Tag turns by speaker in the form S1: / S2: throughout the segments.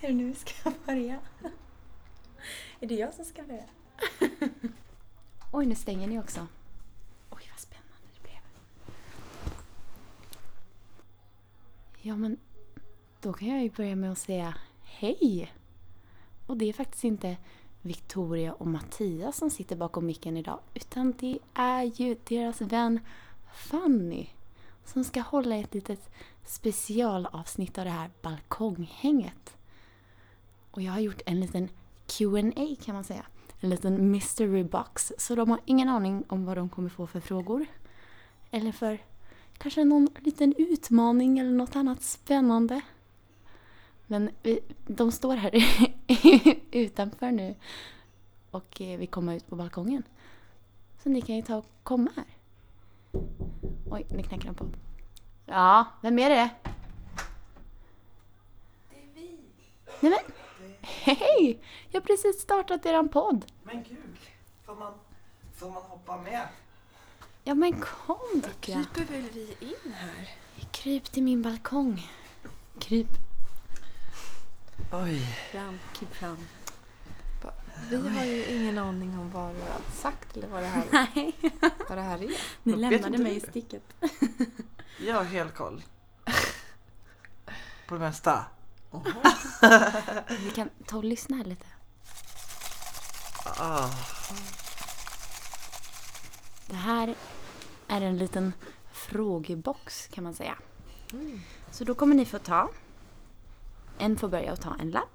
S1: Är det nu vi ska börja? Är det jag som ska börja?
S2: Oj, nu stänger ni också.
S1: Oj, vad spännande det blev.
S2: Ja, men då kan jag ju börja med att säga hej! Och det är faktiskt inte Victoria och Mattias som sitter bakom micken idag, utan det är ju deras vän Fanny som ska hålla ett litet specialavsnitt av det här balkonghänget. Och jag har gjort en liten Q&A kan man säga. En liten mystery box, så de har ingen aning om vad de kommer få för frågor. Eller för kanske någon liten utmaning eller något annat spännande. Men vi, de står här utanför nu och eh, vi kommer ut på balkongen. Så ni kan ju ta och komma här. Oj, nu knackar de på. Ja, vem är det?
S1: Det är vi!
S2: Nej men, hej! Jag har precis startat eran podd.
S3: Men gud, får man, får man hoppa med?
S2: Ja men kom tycker jag.
S1: Kryper väl vi in här?
S2: Kryp till min balkong. Kryp
S3: Oj.
S1: Fram, kryp fram. Va- Vi har ju ingen aning om vad du har sagt eller vad det här,
S2: Nej,
S1: vad det här är.
S2: ni
S3: Vet
S2: lämnade
S3: inte
S2: mig
S3: du?
S2: i sticket.
S3: Jag har hel koll. På det mesta.
S2: Vi kan ta och lyssna här lite.
S3: Ah,
S2: Det här är en liten frågebox kan man säga. Mm. Så då kommer ni få ta, en får börja att ta en lapp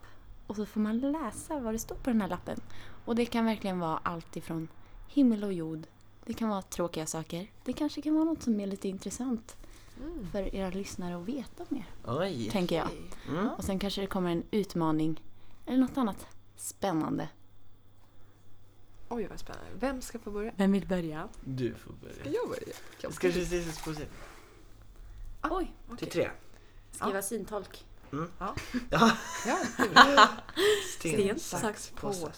S2: och så får man läsa vad det står på den här lappen. Och det kan verkligen vara allt ifrån himmel och jord, det kan vara tråkiga saker, det kanske kan vara något som är lite intressant för era lyssnare att veta mer,
S3: oj.
S2: tänker jag.
S3: Mm.
S2: Och sen kanske det kommer en utmaning eller något annat spännande.
S4: Oj vad spännande. Vem ska få börja?
S2: Vem vill börja?
S3: Du får börja.
S4: Jag börjar. Jag
S3: Ska vi se så positivt?
S2: Oj,
S3: Till tre.
S2: skriva syntolk.
S4: Ja, kul.
S3: Sten,
S4: sax, påse.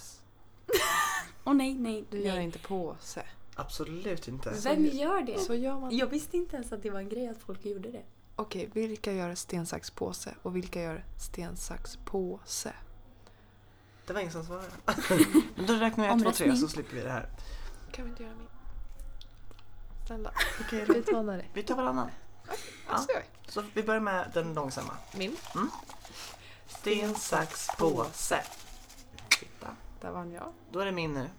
S2: Åh nej, nej,
S4: Du gör inte påse.
S3: Absolut inte.
S2: Vem gör det?
S4: Så gör man.
S2: Jag visste inte ens att det var en grej att folk gjorde det.
S4: Okej, vilka gör sten, sax, påse och vilka gör sten, sax, påse?
S3: Det var ingen som svarade. Men då räknar jag ett, två, tre
S2: Omröstning.
S3: så slipper vi det här.
S4: Kan vi inte göra min? Snälla,
S3: Okej då.
S4: vi utmanar dig.
S3: Vi tar varannan. Ja.
S4: Så gör vi.
S3: Så vi börjar med den långsamma.
S4: Min.
S3: Sten, sax, påse. Titta.
S4: Där vann jag.
S3: Då är det min nu.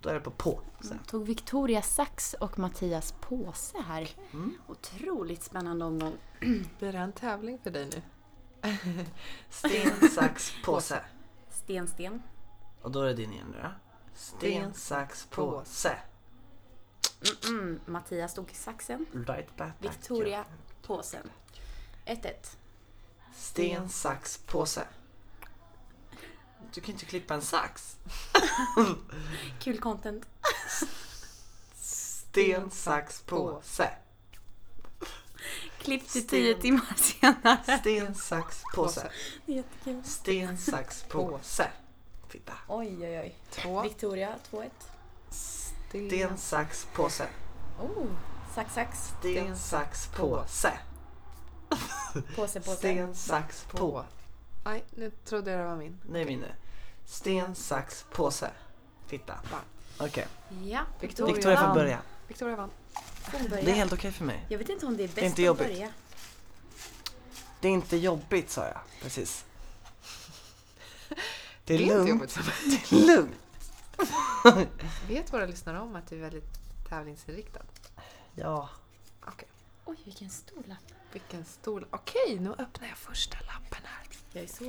S3: Då är det på på. sen.
S2: Tog Victoria sax och Mattias påse här.
S3: Mm.
S2: Otroligt spännande omgång.
S4: Blir det här en tävling för dig nu?
S3: Sten, sax, påse.
S2: Sten, sten.
S3: Och då är det din igen nu då. Sten, sax, påse.
S2: Mm, Mattias tog saxen,
S3: Right back.
S2: Victoria påsen. 1-1.
S3: Sten, sax, påse. Du kan inte klippa en sax.
S2: Kul content.
S3: Sten, sax, påse.
S2: Klipp till
S3: Sten.
S2: 10 timmar senare.
S3: Sten, sax, påse.
S2: Jättekul.
S3: Sten, sax, påse. Titta.
S2: Oj, oj, oj.
S4: Två.
S2: Victoria 2-1.
S3: Sten, sax, påse.
S2: Oh, sax, sax.
S3: Sten, sax, påse.
S2: Påse, påse.
S3: Sten, sax, på.
S4: Nej, nu trodde jag det var min.
S3: Nej, min nu. Sten, sax, påse. Titta. Okej,
S2: Ja,
S4: Victoria.
S3: Victoria får
S2: vann.
S3: börja.
S4: Victoria vann.
S2: Hon börjar.
S3: Det är helt okej för mig.
S2: Jag vet inte om det är bäst
S3: inte
S2: att
S3: jobbigt.
S2: börja.
S3: Det är inte jobbigt sa jag precis. Det är,
S4: Det är inte
S3: lugnt.
S4: jobbigt.
S3: Det är lugnt.
S4: Vet våra lyssnare om att du är väldigt tävlingsinriktad?
S3: Ja.
S4: Okej.
S2: Oj, vilken stor lapp.
S4: Vilken stol. Okej, nu öppnar jag första lappen här.
S2: Jag är så...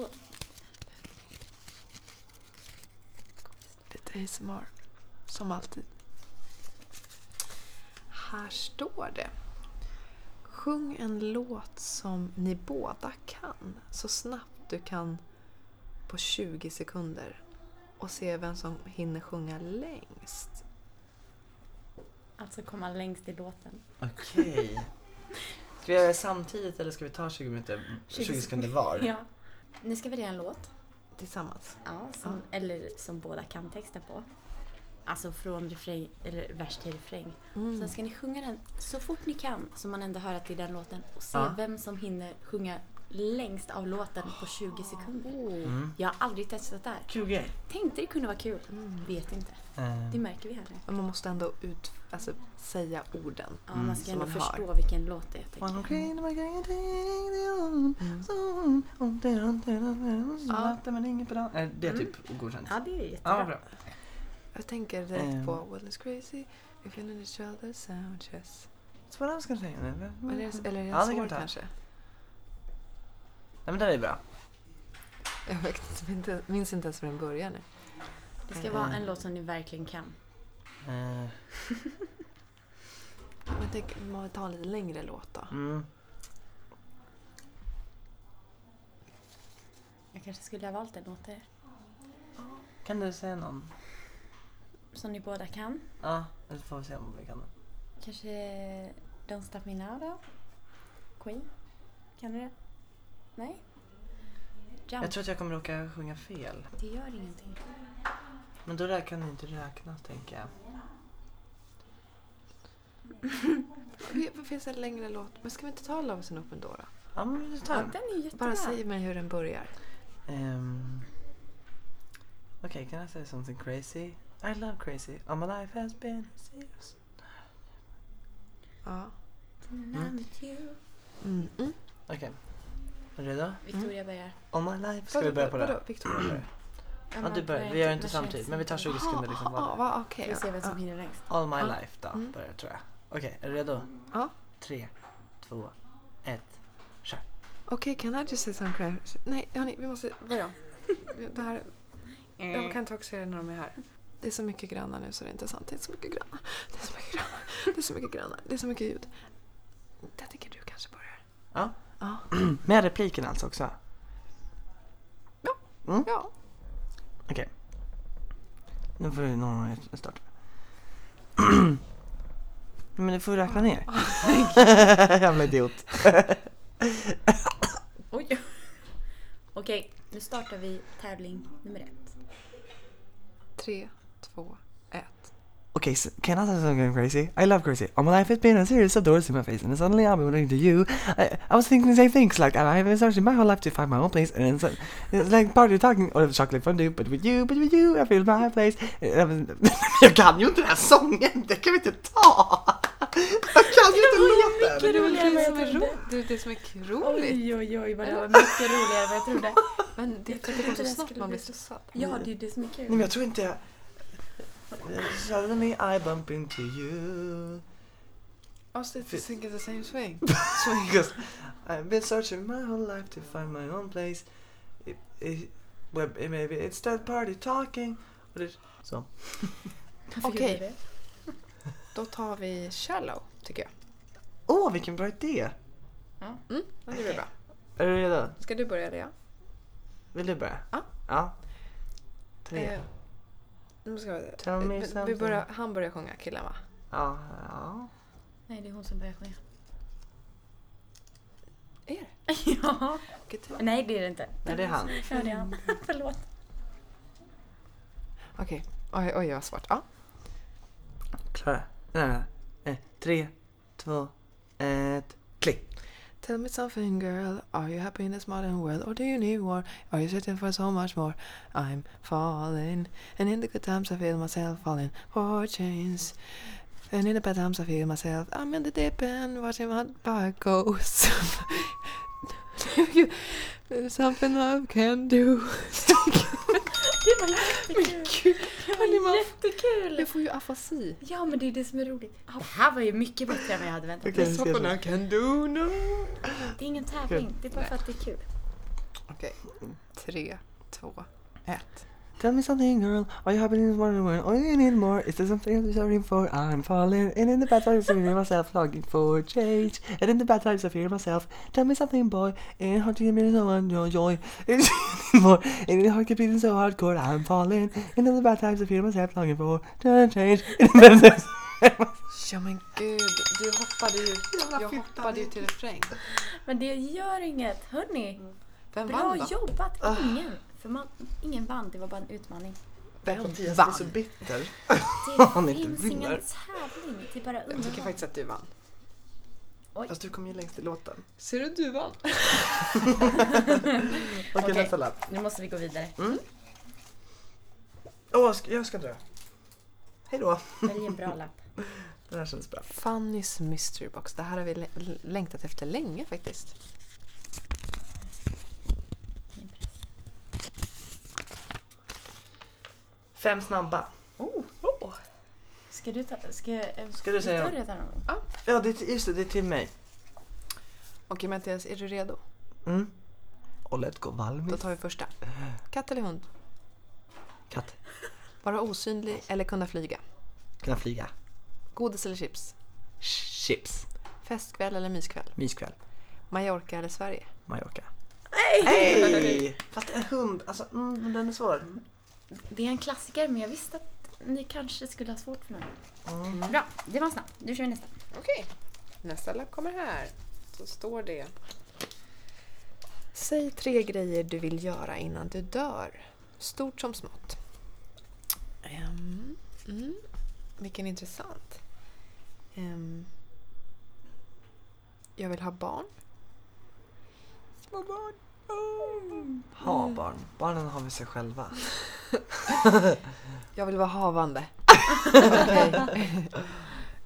S4: Lite ASMR. Som alltid. Här står det. Sjung en låt som ni båda kan så snabbt du kan på 20 sekunder och se vem som hinner sjunga längst.
S2: Alltså komma längst i låten.
S3: Okej. Ska vi göra det samtidigt eller ska vi ta 20 minuter, 20 sekunder var?
S2: Ja. Ni ska välja en låt.
S4: Tillsammans.
S2: Ja, som, Eller som båda kan texten på.
S1: Alltså från refräng, eller vers till refräng. Sen
S4: Mm.
S1: ska ni sjunga den så fort ni kan så man ändå hör att det är den låten och se
S3: Ja.
S1: vem som hinner sjunga längst av låten på
S3: Ah.
S1: 20 sekunder.
S3: Mm.
S1: Jag har aldrig testat det här.
S3: Kul grej.
S1: Tänkte det kunde vara kul. Vet inte.
S3: Eh,
S1: Det märker vi här nu.
S4: Men man måste ändå ut, alltså, säga orden.
S1: Ja,
S3: Mm,
S1: man ska
S4: som
S1: ändå
S4: man
S1: förstå vilken låt det är. tänker
S3: One
S1: jag.
S3: green, one green, ding, ding, dong, dong, dong, dong, dong, så
S4: Ja.
S3: natten men ingen på dagen. Eh, Det är typ godkänt.
S1: Ja, det är
S3: Ja,
S1: jättebra.
S3: vad bra.
S4: Jag tänker direkt
S3: Ehm.
S4: på What is crazy? If you need each other sound chess.
S3: Så vad ska jag säga nu?
S4: Eller, är det- eller är det
S3: Mm, Ja, det kan
S4: svår
S3: vi ta.
S4: kanske?
S3: Nej men det är bra.
S4: Jag vet inte- minns inte ens hur den börjar nu.
S1: Det ska vara en låt som ni verkligen kan.
S3: Eh,
S4: Men tänk, man tar en lite längre låt då.
S3: Mm.
S1: Jag kanske skulle ha valt en åt er.
S3: Kan du säga någon?
S1: Som ni båda kan.
S3: Ja, eller får vi se om vi kan det.
S1: Kanske Don't Stop Me Now då? Queen? Kan du det? Nej? Jump?
S3: Jag tror att jag kommer råka sjunga fel.
S1: Det gör ingenting.
S3: Men då där kan ni inte räkna tänker jag.
S4: Det finns en längre låt. Men ska vi inte ta Love is an open door då?
S3: Ja men vi tar
S1: Ja,
S3: den.
S1: den är ju jättebra.
S4: Bara säg mig hur den börjar.
S3: Um, okay, can I say something crazy? I love crazy. All my life has been serious.
S4: Ja.
S1: Mm. with you.
S4: Mm. Mm.
S3: Okej. Är du redo?
S1: Victoria börjar.
S3: All my life. Ska vi börja på
S4: Vadå,
S3: det?
S4: Victoria börjar.
S3: Ja, du börjar. Vi gör det inte samtidigt. Men vi tar 20 sekunder liksom
S4: Ja,
S3: var.
S4: va, okej.
S1: Vi ser vem
S4: Ja.
S1: som hinner längst.
S3: All my
S4: Ja.
S3: life då
S4: Mm.
S3: börjar tror jag. Okej, är du redo?
S4: Ja.
S3: Tre, två, ett.
S4: Okej, can I just say some crazy? Nej, hörni, vi måste... Börja. Det här, jag kan inte fokusera när de är här. Det är så mycket grannar nu så det är inte sant. Det är så mycket grannar. Det är så mycket grannar. Det är så mycket grannar. Det är så mycket ljud. Jag tänker du kanske börjar.
S3: Ja.
S4: Ja.
S3: Med repliken alltså också?
S4: Ja.
S3: Nu får du någon starta. Men du får räkna ner. Jävla idiot.
S1: Oj. Okej, nu startar vi tävling nummer ett.
S4: Tre, två, ett.
S3: Okay, so can I say something crazy? I love crazy. All my life it's been a series of doors in my face, and then suddenly I'll be looking to you. I, I was thinking the same things, like I- I've been searching my whole life to find my own place, and then so- it's like part of talking or the chocolate fondue, but with you, but with you, I feel my place. I was- Jag kan ju inte den här sången, det kan vi inte ta! Jag kan ju inte låten!
S1: mycket roligare än vad jag
S4: som är
S1: trodde.
S4: roligt. Det är det som är roligt.
S1: Oj, oj, oj vad det var mycket roligare än vad jag trodde.
S4: Men det är för att det går så snabbt man blir stressad.
S1: Ja, det är ju det som är
S3: Nej men
S1: kul.
S3: jag tror inte jag... Suddenly I bump into you
S4: Avslut
S3: Fy-
S4: Think it's the same swing.
S3: Because I've been searching my whole life to find my own place it, it, well, it- Maybe it's that party talking Och det- Så,
S1: Varför
S4: Okej.
S1: gjorde du det?
S4: Då tar vi Shallow, tycker jag.
S3: åh vilken bra idé!
S4: Mm, ja, det blir bra.
S3: Är du redo?
S4: Ska du börja Lea?
S3: Vill du börja?
S4: Ja.
S3: ja. Tre,
S4: Eh, nu ska vi,
S3: Tell me
S4: vi- vi
S3: something.
S4: börjar, han börjar sjunga, killen va?
S3: ja, ja.
S1: Nej, det är hon som börjar sjunga.
S4: Är det?
S1: Ja.
S4: Vilket-
S1: Nej, det är det inte.
S3: Nej det är han
S1: Ja, det är han.
S2: Mm.
S1: Förlåt.
S4: Okej, oj oj vad svårt. Ja.
S3: Klara, nej, nej, nej. Eh, Tre, två, ett, klick!
S4: Tell me something girl, are you happy in this modern world or do you need more? Are you searching for so much more? I'm falling and in the good times I feel myself falling for chains and in the bad times I feel myself I'm in the deep end watching my back goes. There's something love can do.
S1: Det var jättekul. Det
S4: Hörni,
S1: var
S4: man-
S1: jättekul.
S4: Jag får ju afasi.
S1: Ja, men det är det som är roligt. Det här var ju mycket bättre än vad jag hade väntat mig.
S3: Okej, vi ska se.
S4: can do no.
S1: Det är ingen tävling. Det är bara för att det är kul.
S4: Okej, tre, två, ett.
S3: Tell me something, girl. Are you happy in this modern world? Or do you need more? Is there something you're sorry for? I'm falling. And in the bad times, I feel myself longing for change. And in the bad times, I feel myself. Tell me something, boy. And it's hard to give me so much joy. joy. It's more. And it's hard to be so hardcore. I'm falling. And in the bad times, I feel myself longing for change. And in the bad times.
S4: Ja men gud, du hoppade ju, jag hoppade ju till refräng.
S1: Men det gör inget. Hörni,
S4: Vem
S1: bra
S4: vann då?
S3: Ah.
S1: jobbat. Ingen. För man, ingen vann. Det var bara en utmaning.
S4: Vem
S3: Mattias
S4: vann?
S3: är så bitter. Om
S2: Det
S3: inte
S2: finns
S3: vinner.
S2: ingen tävling, det är bara
S4: Jag tycker
S2: underhållning.
S4: faktiskt att du vann.
S3: Fast du kom ju längst i låten.
S4: Ser du, du vann.
S3: Okej,
S2: Okej.
S3: nästa lapp.
S2: Nu måste vi gå vidare.
S3: Åh, ska- jag ska dra. Hej då.
S2: Välj en bra lapp.
S3: Den här känns bra.
S4: Fannys Mystery Box. Det här har vi lä- l- längtat efter länge faktiskt.
S3: Fem snabba.
S2: Oh. Ska du ta... Ska, eh,
S3: Ska du säga-
S2: tar redan någon?
S3: Ja, det, är- just det, det är till mig.
S4: Okej Mattias, är du redo?
S3: Mm. Och let go
S4: Då
S3: valmis.
S4: tar vi första. Katt eller hund?
S3: Katt.
S4: Vara osynlig eller kunna flyga?
S3: Kunna flyga.
S4: Godis eller chips?
S3: Chips.
S4: Festkväll eller myskväll?
S3: Myskväll.
S4: Mallorca eller Sverige?
S3: Mallorca. Hej! Fast en hund, alltså mm, men den är svår.
S2: Det är en klassiker, men jag visste att ni kanske skulle ha svårt för någon.
S4: Mm.
S2: Bra, det var en snabb. Nu kör vi nästa.
S4: Okej, nästa lapp kommer här. Så står det. Säg tre grejer du vill göra innan du dör. Stort som smått. Ehm, mm, vilken intressant. Ehm, jag vill ha barn. Små barn.
S3: Ha barn. Barnen har vi sig själva.
S4: Jag vill vara havande.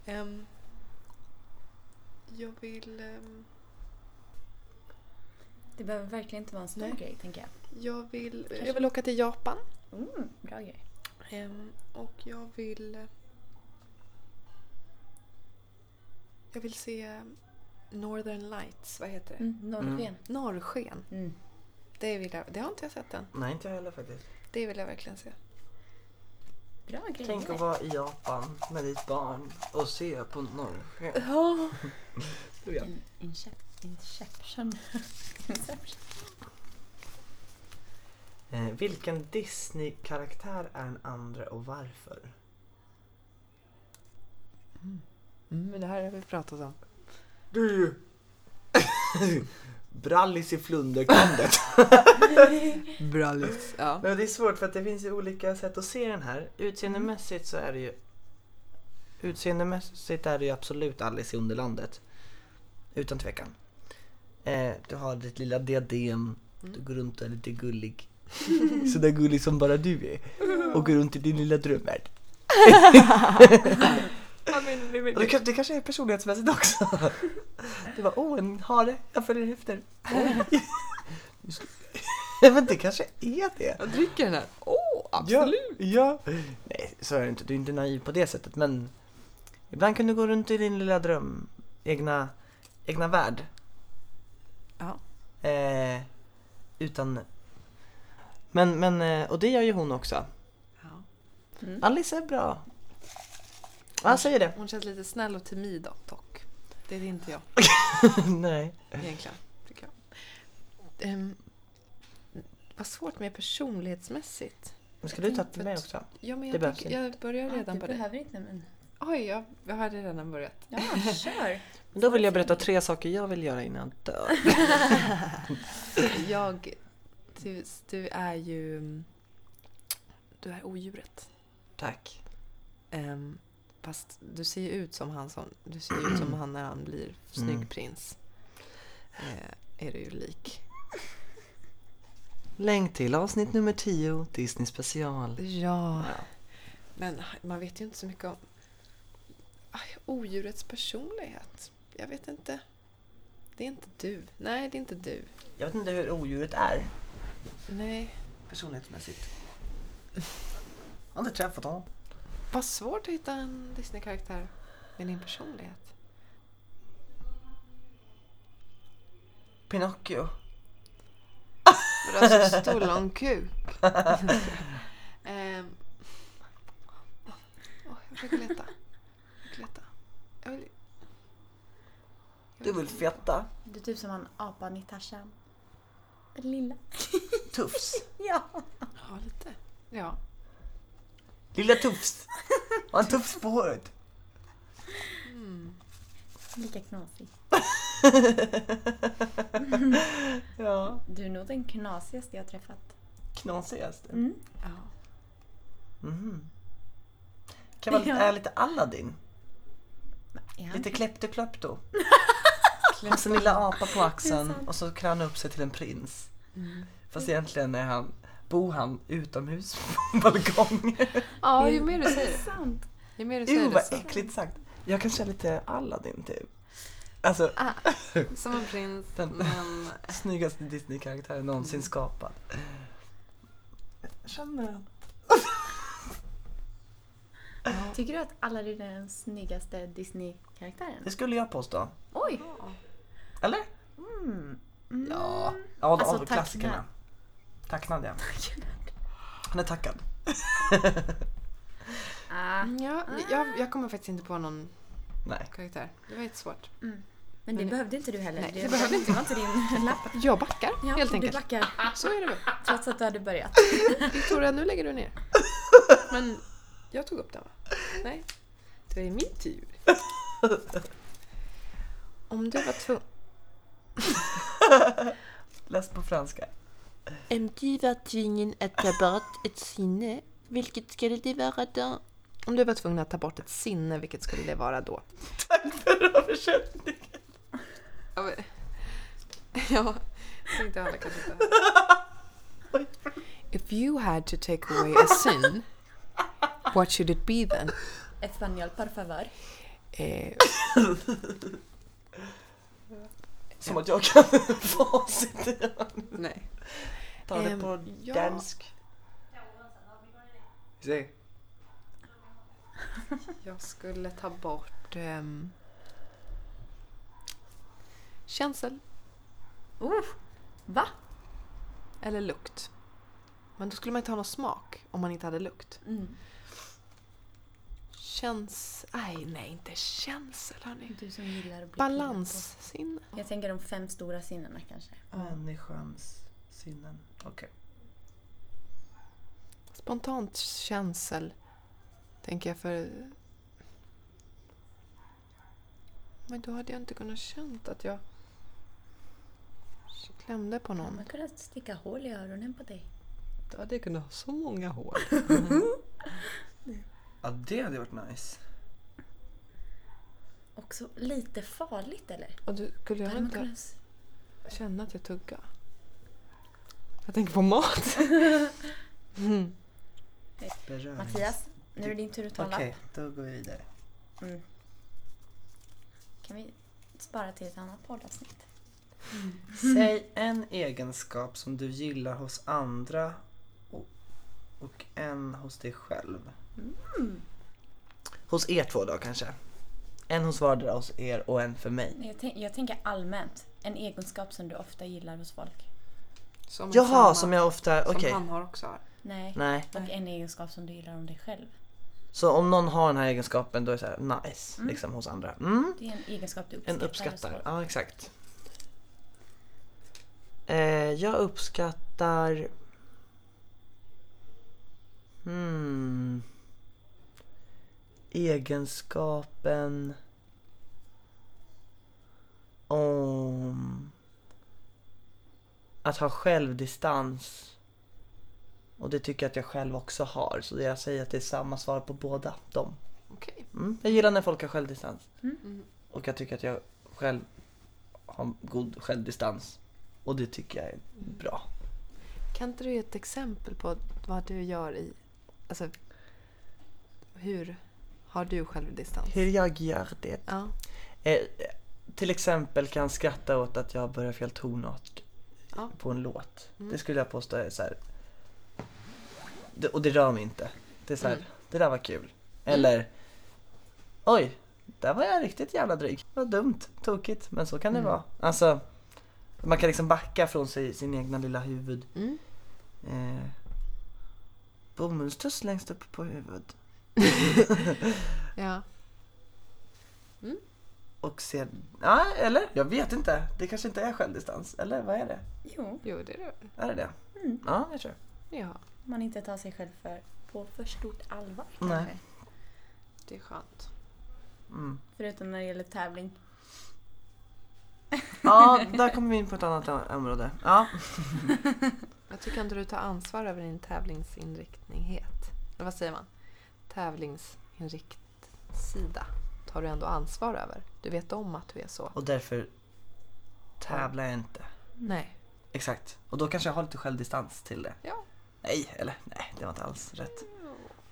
S4: Ehm, jag vill... ehm,
S2: Det behöver verkligen inte vara en stor
S4: Nej.
S2: grej, tänker jag.
S4: jag vill... Jag vill åka till Japan.
S2: Mm, bra grej.
S4: Ehm, och jag vill... Jag vill se Northern Lights, vad heter det?
S2: Mm, Norrsken.
S4: Norrsken.
S2: Mm.
S4: Det, vill jag, det har inte jag sett än.
S3: Nej, inte jag heller faktiskt.
S4: Det vill jag verkligen se.
S2: Bra grejer.
S3: Tänk att vara i Japan med ditt barn och se på norrsken.
S4: Ja.
S2: En incep- Inception. Inception.
S3: Eh, vilken Disney-karaktär är den andra och varför?
S4: Mm, Men det här har vi pratat om.
S3: Du! Brallis i Flunderkandet.
S4: Brallis. Ja.
S3: Men det är svårt för att det finns ju olika sätt att se den här. Utseendemässigt så är det ju... Utseendemässigt är det ju absolut Alice i Underlandet. Utan tvekan. Eh, du har ditt lilla diadem. Du går runt och är lite gullig. Sådär gullig som bara du är. Och går runt i din lilla drömvärld. Och det, kan- det kanske är personlighetsmässigt också. Det var oh en hare, jag följer efter. Oj. Men det kanske är det.
S4: Jag dricker den här. Åh, oh,
S3: Ja, ja. Nej, så är det inte. Du är inte naiv på det sättet, men ibland kan du gå runt i din lilla dröm, egna, egna värld.
S4: Ja.
S3: Eh, utan... Men, men, eh, och det gör ju hon också.
S4: Ja.
S3: Alice är bra. Ja, jag säger det.
S4: Hon känns lite snäll och timid dock. Det är inte jag
S3: Nej.
S4: egentligen. Tycker jag. Um, vad svårt med personlighetsmästigt.
S3: Men ska du ta till mig också?
S4: Ja, men
S3: Det
S4: jag,
S3: behövs
S4: tycker, jag börjar
S2: Ja,
S4: redan
S2: du
S4: på Ah, det.
S2: behöver inte, men...
S4: Oj, jag, jag hade redan börjat.
S2: Ja, kör.
S3: Men Då vill jag berätta tre saker jag vill göra innan jag dör.
S4: Jag, du, du är ju... Du är odjuret.
S3: Tack.
S4: Ehm, fast du ser ju ut som han som... Du ser ju ut som han när han blir snygg
S3: Mm.
S4: prins. Eh, är du ju lik.
S3: Länk till avsnitt nummer 10, Disney special.
S4: Ja. Men man vet ju inte så mycket om aj, odjurets personlighet. Jag vet inte. Det är inte du. Nej, det är inte du.
S3: Jag vet inte hur odjuret är.
S4: Nej.
S3: personlighetsmässigt. Jag har inte träffat honom.
S4: Vad svårt att hitta en Disney-karaktär med din personlighet.
S3: Pinocchio.
S4: För du har så stor lång kuk. Ehm. Åh, jag försöker leta. Jag försöker leta. Jag vill... jag
S3: Du vill feta.
S2: Du är typ som en apan i Tarzan. Den lilla.
S3: Tufs.
S2: Ja.
S4: Ja, lite. Ja.
S3: Lilla Tufs. Har en tufs på håret.
S2: Lika knasig.
S3: Ja.
S2: Du är nog den knasigaste jag har träffat.
S3: Knasigast.
S2: Mm.
S4: ja.
S3: Mhm. Kan man
S2: Ja.
S3: är lite Aladdin?
S2: Ja.
S3: Lite kleptoklepto. Alltså en lilla apa på axeln och så klär han upp sig till en prins. Fast egentligen är han, bor han utomhus på en balkong.
S4: Ja, ju mer du säger det.
S2: Sant.
S4: Ju mer du säger
S3: Gud
S4: det
S3: vad
S4: så.
S3: äckligt sagt. Jag kanske är lite Aladdin typ. Alltså
S4: Som en prins,
S3: Den-
S4: men... äh.
S3: snyggaste Disney-karaktären någonsin skapad. Jag känner att
S2: Tycker du att Aladdin är den snyggaste Disney-karaktären?
S3: det skulle jag påstå.
S2: Oj!
S3: Eller?
S2: Mm.
S3: Ja. Ja,
S2: Alltså,
S3: av klassikerna. Tacknad ja. Han är tackad.
S2: Ah.
S4: Ja, jag, jag kommer faktiskt inte på någon
S3: Nej.
S4: karaktär. Det var jättesvårt.
S2: Men det
S4: Men-
S2: behövde inte du heller.
S4: Nej, det
S2: var-
S4: behövde inte
S2: Det var inte din lapp.
S4: Jag backar
S2: Ja,
S4: helt
S2: du
S4: enkelt.
S2: backar.
S4: Så är det väl.
S2: Trots att du hade börjat.
S4: Victoria, nu lägger du ner. Men jag tog upp den va? Nej. Det är min tur. Om du var tvungen...
S3: Läs på franska.
S4: Om du var tvungen att ta bort ett sinne, vilket skulle det vara då? Om du var tvungen att ta bort ett sinne, vilket skulle det vara då? Ja, men- ja tänkte alla kanske inte If you had to take away a sin, what should it be then?
S2: Espanol, por favor.
S4: Eh,
S3: Som att jag kan facit.
S4: nej.
S3: Ta det
S4: Ehm,
S3: på
S4: ja.
S3: dansk. Se.
S4: Jag skulle ta bort... Um, känsel
S2: Oh, va?
S4: eller lukt. Men då skulle man inte ha någon smak om man inte hade lukt.
S2: Mm.
S4: Känns... Nej, nej, inte känsel hörni.
S2: Du som gillar att bli pirrad
S4: Balanssinne.
S2: på. Jag tänker de fem stora sinnena kanske.
S3: Människans sinnen. Okej.
S4: Spontant känsel, tänker jag för... Men då hade jag inte kunnat känt att jag klämde på någon.
S2: Man kunde sticka hål i öronen på dig.
S4: Då hade jag kunnat ha så många hål.
S3: Ja, det hade varit nice.
S2: Också lite farligt eller?
S4: Och du, skulle jag
S2: Hade man
S4: inte
S2: kunnat...
S4: känna att jag tugga? Jag tänker på mat. Mm.
S3: Beröring.
S2: Mattias, nu är det din tur att ta en
S3: Okej,
S2: lapp.
S3: då går vi vidare.
S2: Kan vi spara till ett annat poddavsnitt?
S3: Säg en egenskap som du gillar hos andra och, och en hos dig själv. Hos er två då kanske? En hos vardera hos er och en för mig.
S2: Nej, Jag, tänk, jag tänker allmänt. En egenskap som du ofta gillar hos folk.
S4: Som
S3: Jaha, som jag ofta... Okej.
S4: har också.
S2: Nej.
S3: Nej.
S2: Och en egenskap som du gillar om dig själv.
S3: Så om någon har den här egenskapen då är det så här nice liksom hos andra. Mm.
S2: Det är en egenskap du uppskattar.
S3: En
S2: hos
S3: uppskattar.
S2: folk.
S3: Ja, exakt. Eh, jag uppskattar... Hmm. Egenskapen... Om... Att ha självdistans. Och det tycker jag att jag själv också har. Så jag säger att det är samma svar på båda dem.
S4: Okej.
S3: Mm. Jag gillar när folk har självdistans.
S4: Mm.
S3: Och jag tycker att jag själv har god självdistans. Och det tycker jag är bra.
S4: Kan inte du ge ett exempel på vad du gör i... Alltså, hur har du självdistans?
S3: Hur jag gör det.
S4: Ja.
S3: Eh, till exempel kan jag skratta åt att jag börjar fel tonart
S4: Ja. Mm.
S3: på en låt. Det skulle jag påstå är så här. Det, och det rör mig inte. Det är så här,
S4: Mm.
S3: det där var kul. Eller, oj, där var jag riktigt jävla dryg. Vad dumt, tokigt, men så kan
S4: Mm.
S3: det vara. Alltså, man kan liksom backa från sig, sin egna lilla huvud.
S4: Mm.
S3: Eh, Bomullstuss längst upp på huvudet.
S4: ja.
S3: Och se, ja eller? Jag vet inte. Det kanske inte är självdistans. Eller vad är det?
S2: Jo,
S4: Jo, det är det.
S3: Är det det? Ja, jag tror
S4: Ja,
S2: man inte tar sig själv för på för stort allvar
S3: Nej.
S2: kanske.
S4: det är skönt.
S3: mm.
S2: Förutom när det gäller tävling.
S3: Ja, där kommer vi in på ett annat om- område. Ja,
S4: Jag tycker inte du tar ansvar över din tävlingsinriktninghet. eller vad säger man, tävlingsinrikt sida tar du ändå ansvar över. Du vet om att du är så.
S3: Och därför tävlar jag inte.
S4: Nej.
S3: Exakt. Och då kanske jag har lite självdistans till det.
S4: Ja.
S3: Nej, eller nej, det var inte alls rätt.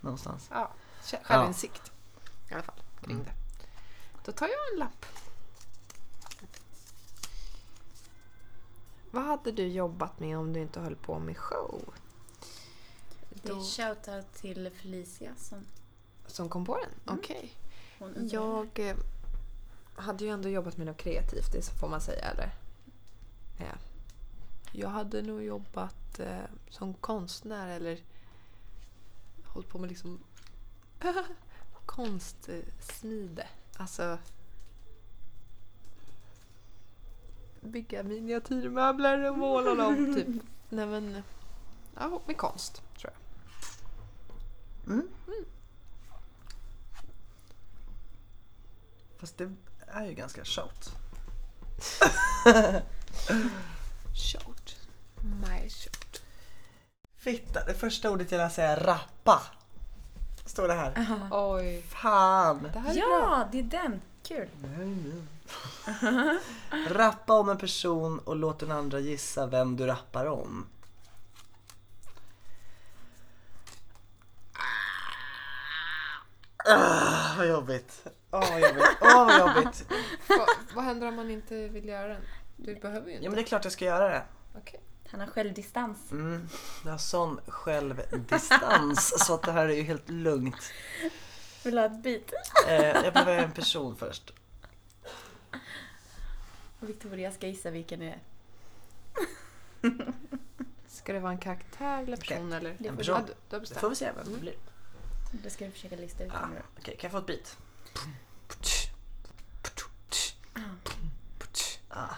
S3: Någonstans.
S4: ja. Kä- Självinsikt i alla fall kring det. Då tar jag en lapp. Vad hade du jobbat med om du inte höll på med show?
S1: Det är shoutout till Felicia som
S4: Som kom på den? Okej.
S1: hon
S2: Mm.
S1: undrade.
S4: Jag eh, hade ju ändå jobbat med något kreativt, det får man säga eller? Ja. Jag hade nog jobbat eh, som konstnär eller hållit på med liksom konstsmide. Alltså bygga miniatyrmöbler och måla dem typ. Nej men, ja, med konst tror jag.
S3: Fast det är ju ganska shout.
S4: Short. My short.
S3: Fitta, det första ordet jag lär säga är rappa. Står det här.
S4: Oj.
S3: Fan!
S4: Det här är bra.
S1: Ja, det är den! Kul!
S3: Rappa om en person och låt den andra gissa vem du rappar om. Ah, vad jobbigt. Åh vad jobbigt. Åh vad jobbigt.
S4: Va, vad händer om man inte vill göra den? Du behöver ju inte.
S3: Ja men det är klart jag ska göra det.
S4: Okej.
S1: Han har självdistans.
S3: Mm. Jag har sån självdistans så att det här är ju helt lugnt.
S1: Vill du ha ett bit?
S3: Eh, jag behöver en person först.
S1: Och Victoria ska gissa vilken det är.
S4: Ska det vara en karaktär eller person eller?
S1: Det
S3: En
S1: får
S3: person.
S4: Ja, du, du har
S3: Då får
S4: bestämt.
S3: vi se vem det blir.
S1: Då ska du försöka lista ut
S3: Ah,
S1: den nu.
S3: Okej, kan jag få ett bit? Ah.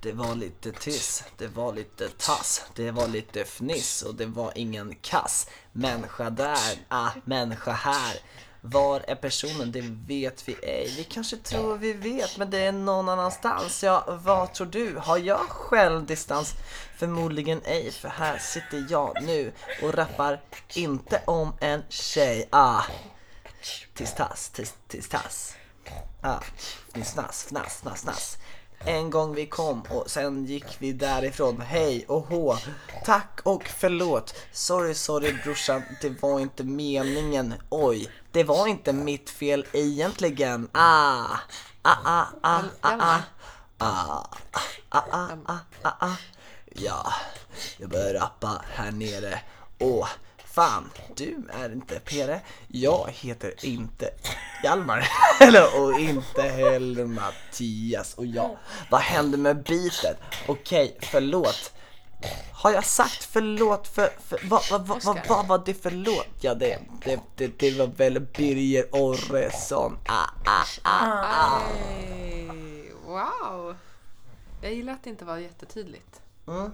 S3: Det var lite tyss, det var lite tass, det var lite fniss och det var ingen kass. Människa där, ah, människa här. Var är personen? Det vet vi ej. Vi kanske tror vi vet, men det är någon annanstans. Ja, vad tror du? Har jag självdistans? Förmodligen ej, för här sitter jag nu och rappar inte om en tjej. Ah. Tiss tass, tiss, tiss tass. Ah, fnass, fnass, fnass, fnass. En gång vi kom och sen gick vi därifrån. Hej och hå. Tack och förlåt. Sorry, sorry brorsan. Det var inte meningen. Oj, det var inte mitt fel egentligen. Ah, ah, ah, ah, ah, ah. Ah, ah, ah, ah, ah, ah. Ja, jag börjar rappa här nere. Åh, fan, du är inte Pere. Jag heter inte Hjalmar. Eller, och inte heller Mattias. Och jag, vad hände med bitet? Okej, förlåt. Har jag sagt förlåt för, för vad, vad, vad, vad, vad var det förlåt? Ja, det, det, det, det var väl Birger Orresson. Ah, ah, ah.
S4: Ej, Wow! Jag gillar att det inte var jättetydligt.
S3: Mm.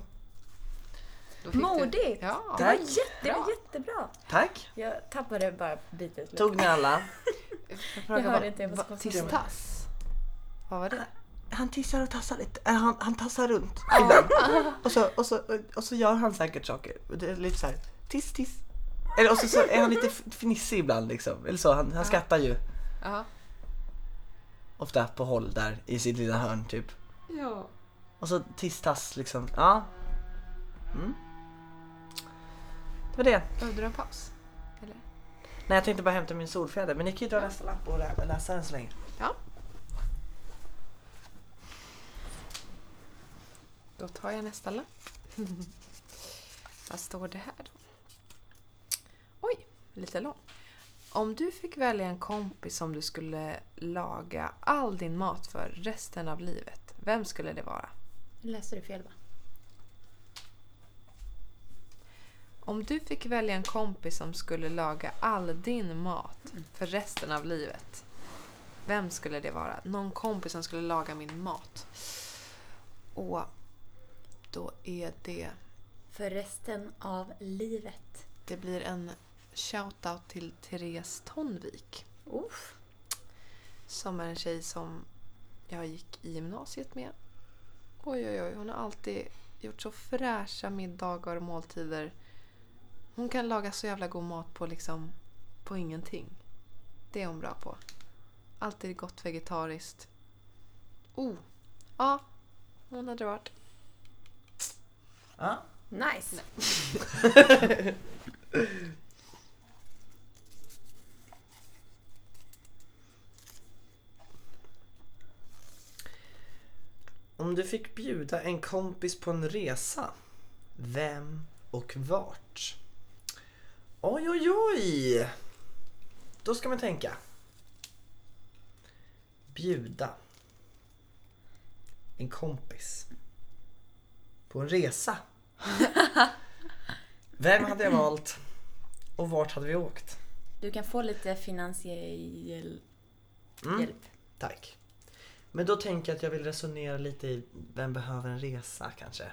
S4: Då fick du-
S1: Modigt!
S4: Ja.
S1: Det var,
S3: Tack.
S1: jätte, det var jättebra!
S3: Tack.
S1: Jag tappade bara bitet lite.
S3: Tog ni alla?
S1: Jag hörde inte, jag var så koncentrerad.
S4: Tistass. Vad var det?
S3: han tissar och tassar lite, Äh, han, han tassar runt ibland. Och så, och, så, och så gör han säkert saker, det är lite så här, tiss tiss. Eller och så, så är han lite f- fnissig ibland liksom, eller så, han, han skrattar ju
S4: Ja.
S3: ofta på håll där i sitt lilla hörn typ.
S4: ja.
S3: Och så tiss tass liksom, ja. Mm. Det var det.
S4: Behövde du en paus? Eller?
S3: Nej jag tänkte bara hämta min solfjäder, men ni kan ju dra nästa lapp och lä- läsa den så länge.
S4: Ja. Då tar jag nästa lapp. Vad står det här då? Oj, lite lång. Om du fick välja en kompis som du skulle laga all din mat för resten av livet, vem skulle det vara?
S1: Nu läser du fel va?
S4: Om du fick välja en kompis som skulle laga all din mat för resten av livet. Vem skulle det vara? Någon kompis som skulle laga min mat. Och då är det...
S1: För resten av livet.
S4: Det blir en shoutout till Therese Tonvik.
S1: Uff.
S4: Som är en tjej som jag gick i gymnasiet med. Oj, oj, oj. Hon har alltid gjort så fräscha middagar och måltider. Hon kan laga så jävla god mat på liksom på ingenting. Det är hon bra på. Alltid gott vegetariskt. Oh! Ja, hon hade varit.
S3: Ja.
S1: Nice.
S3: Om du fick bjuda en kompis på en resa, vem och vart? Oj, oj, oj! Då ska man tänka. Bjuda en kompis på en resa. Vem hade jag valt och vart hade vi åkt?
S1: Du kan få lite finansiell
S3: Mm.
S1: hjälp.
S3: Tack. Men då tänker jag att jag vill resonera lite i vem behöver en resa kanske.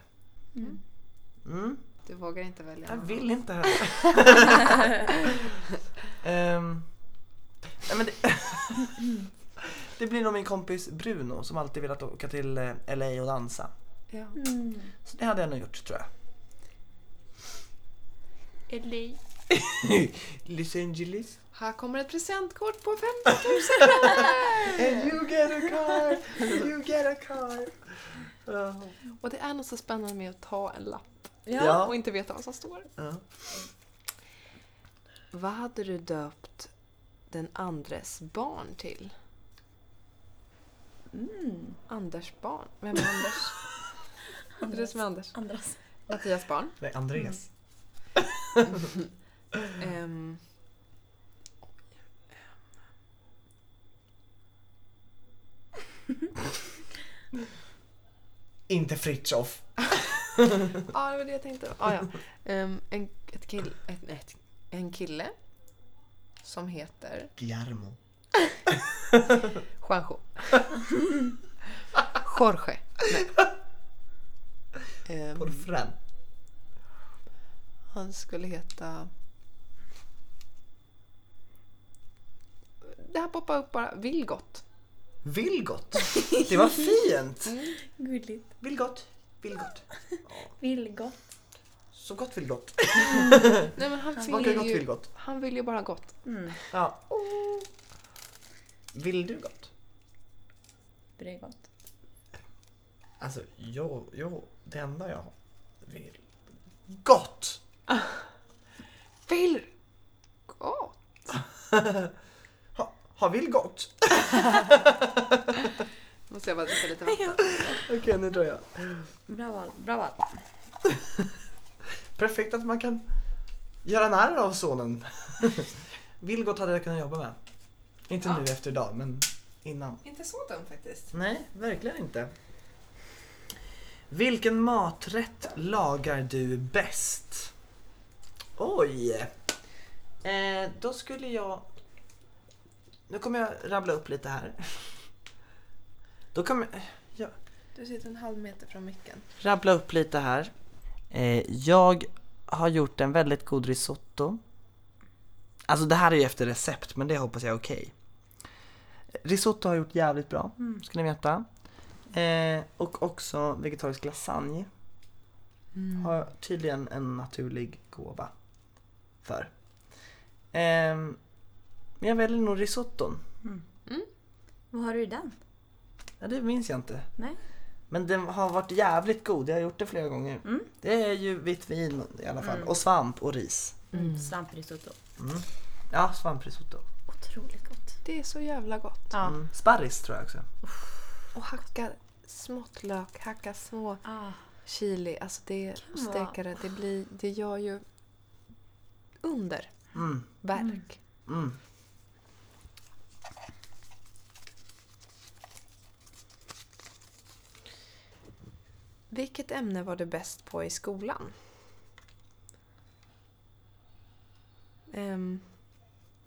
S3: Mm.
S4: Du vågar inte välja
S3: Jag
S4: någon.
S3: vill inte heller. Ehm, nej men det, det blir nog min kompis Bruno som alltid velat åka till eh, LA och dansa.
S4: Ja.
S3: Så det hade jag nog gjort tror jag.
S1: Eller?
S3: Los Angeles.
S4: Här kommer ett presentkort på 50
S3: And you get a car! You get a car! Ja.
S4: Och det är något så spännande med att ta en lapp
S3: Ja.
S4: och inte veta vad som står.
S3: Ja.
S4: Vad hade du döpt den andres barn till? Anders barn? Vem är Anders? Det är du som är Anders.
S1: Andras.
S4: Mattias barn.
S3: Nej, Andreas.
S4: Ehm.
S3: Mm. Inte Fritjof.
S4: Ja, det var det jag tänkte. Ah, ja. Ehm, en, ett kill, ett, ett, en kille som heter
S3: Guillermo.
S4: Juanjo. Jorge. Nej. Ehm,
S3: Porfren.
S4: han skulle heta... Det här poppar upp bara. Vilgot.
S3: Vilgot. Det var fint.
S1: Gulligt.
S3: Vilgot. Vilgot.
S1: Villgott.
S3: Så gott Vilgot.
S4: Nej, men han,
S3: Smakar
S4: vill
S3: gott
S4: ju,
S3: Vilgot.
S4: han vill ju bara gott.
S3: Ja. Oh. Vill du gott?
S1: Det är gott.
S3: Alltså, jag, jag, det enda jag vill... Gott!
S4: Vill gott?
S3: Ha, ha vill gott?
S4: Måste jag bara dricka lite vatten.
S3: Okej, nu drar jag.
S1: Bra val. Bra val.
S3: Perfekt att man kan göra narr av sonen. Vilgot hade jag kunnat jobba med. Inte
S4: Ja.
S3: nu efter idag, men innan.
S4: Inte så dum faktiskt.
S3: Nej, verkligen inte. Vilken maträtt lagar du bäst? Oj! Eh, då skulle jag... Nu kommer jag rabbla upp lite här. Då kommer jag
S4: Du sitter en halv meter från micken.
S3: rabbla upp lite här. Eh, jag har gjort en väldigt god risotto. Alltså det här är ju efter recept men det hoppas jag är okej. Risotto har jag gjort jävligt bra, ska ni veta. Eh, och också vegetarisk lasagne. Har jag tydligen en naturlig gåva för. Ehm, men jag väljer nog risotton.
S1: Vad har du i den?
S3: Ja, det minns jag inte.
S1: Nej.
S3: Men den har varit jävligt god, jag har gjort det flera gånger. Det är ju vitt vin i alla fall, och svamp och ris.
S1: Svamprisotto.
S3: Ja, svamprisotto.
S1: Otroligt gott.
S4: Det är så jävla gott.
S1: Ja.
S3: Mm. Sparris tror jag också.
S4: Och hacka smått lök, hacka små
S1: Ah.
S4: chili. Alltså det
S1: Kan
S4: och
S1: vara-
S4: steka det. Det, blir, det gör ju underverk.
S3: Mm. Mm.
S4: Vilket ämne var du bäst på i skolan? Ehm,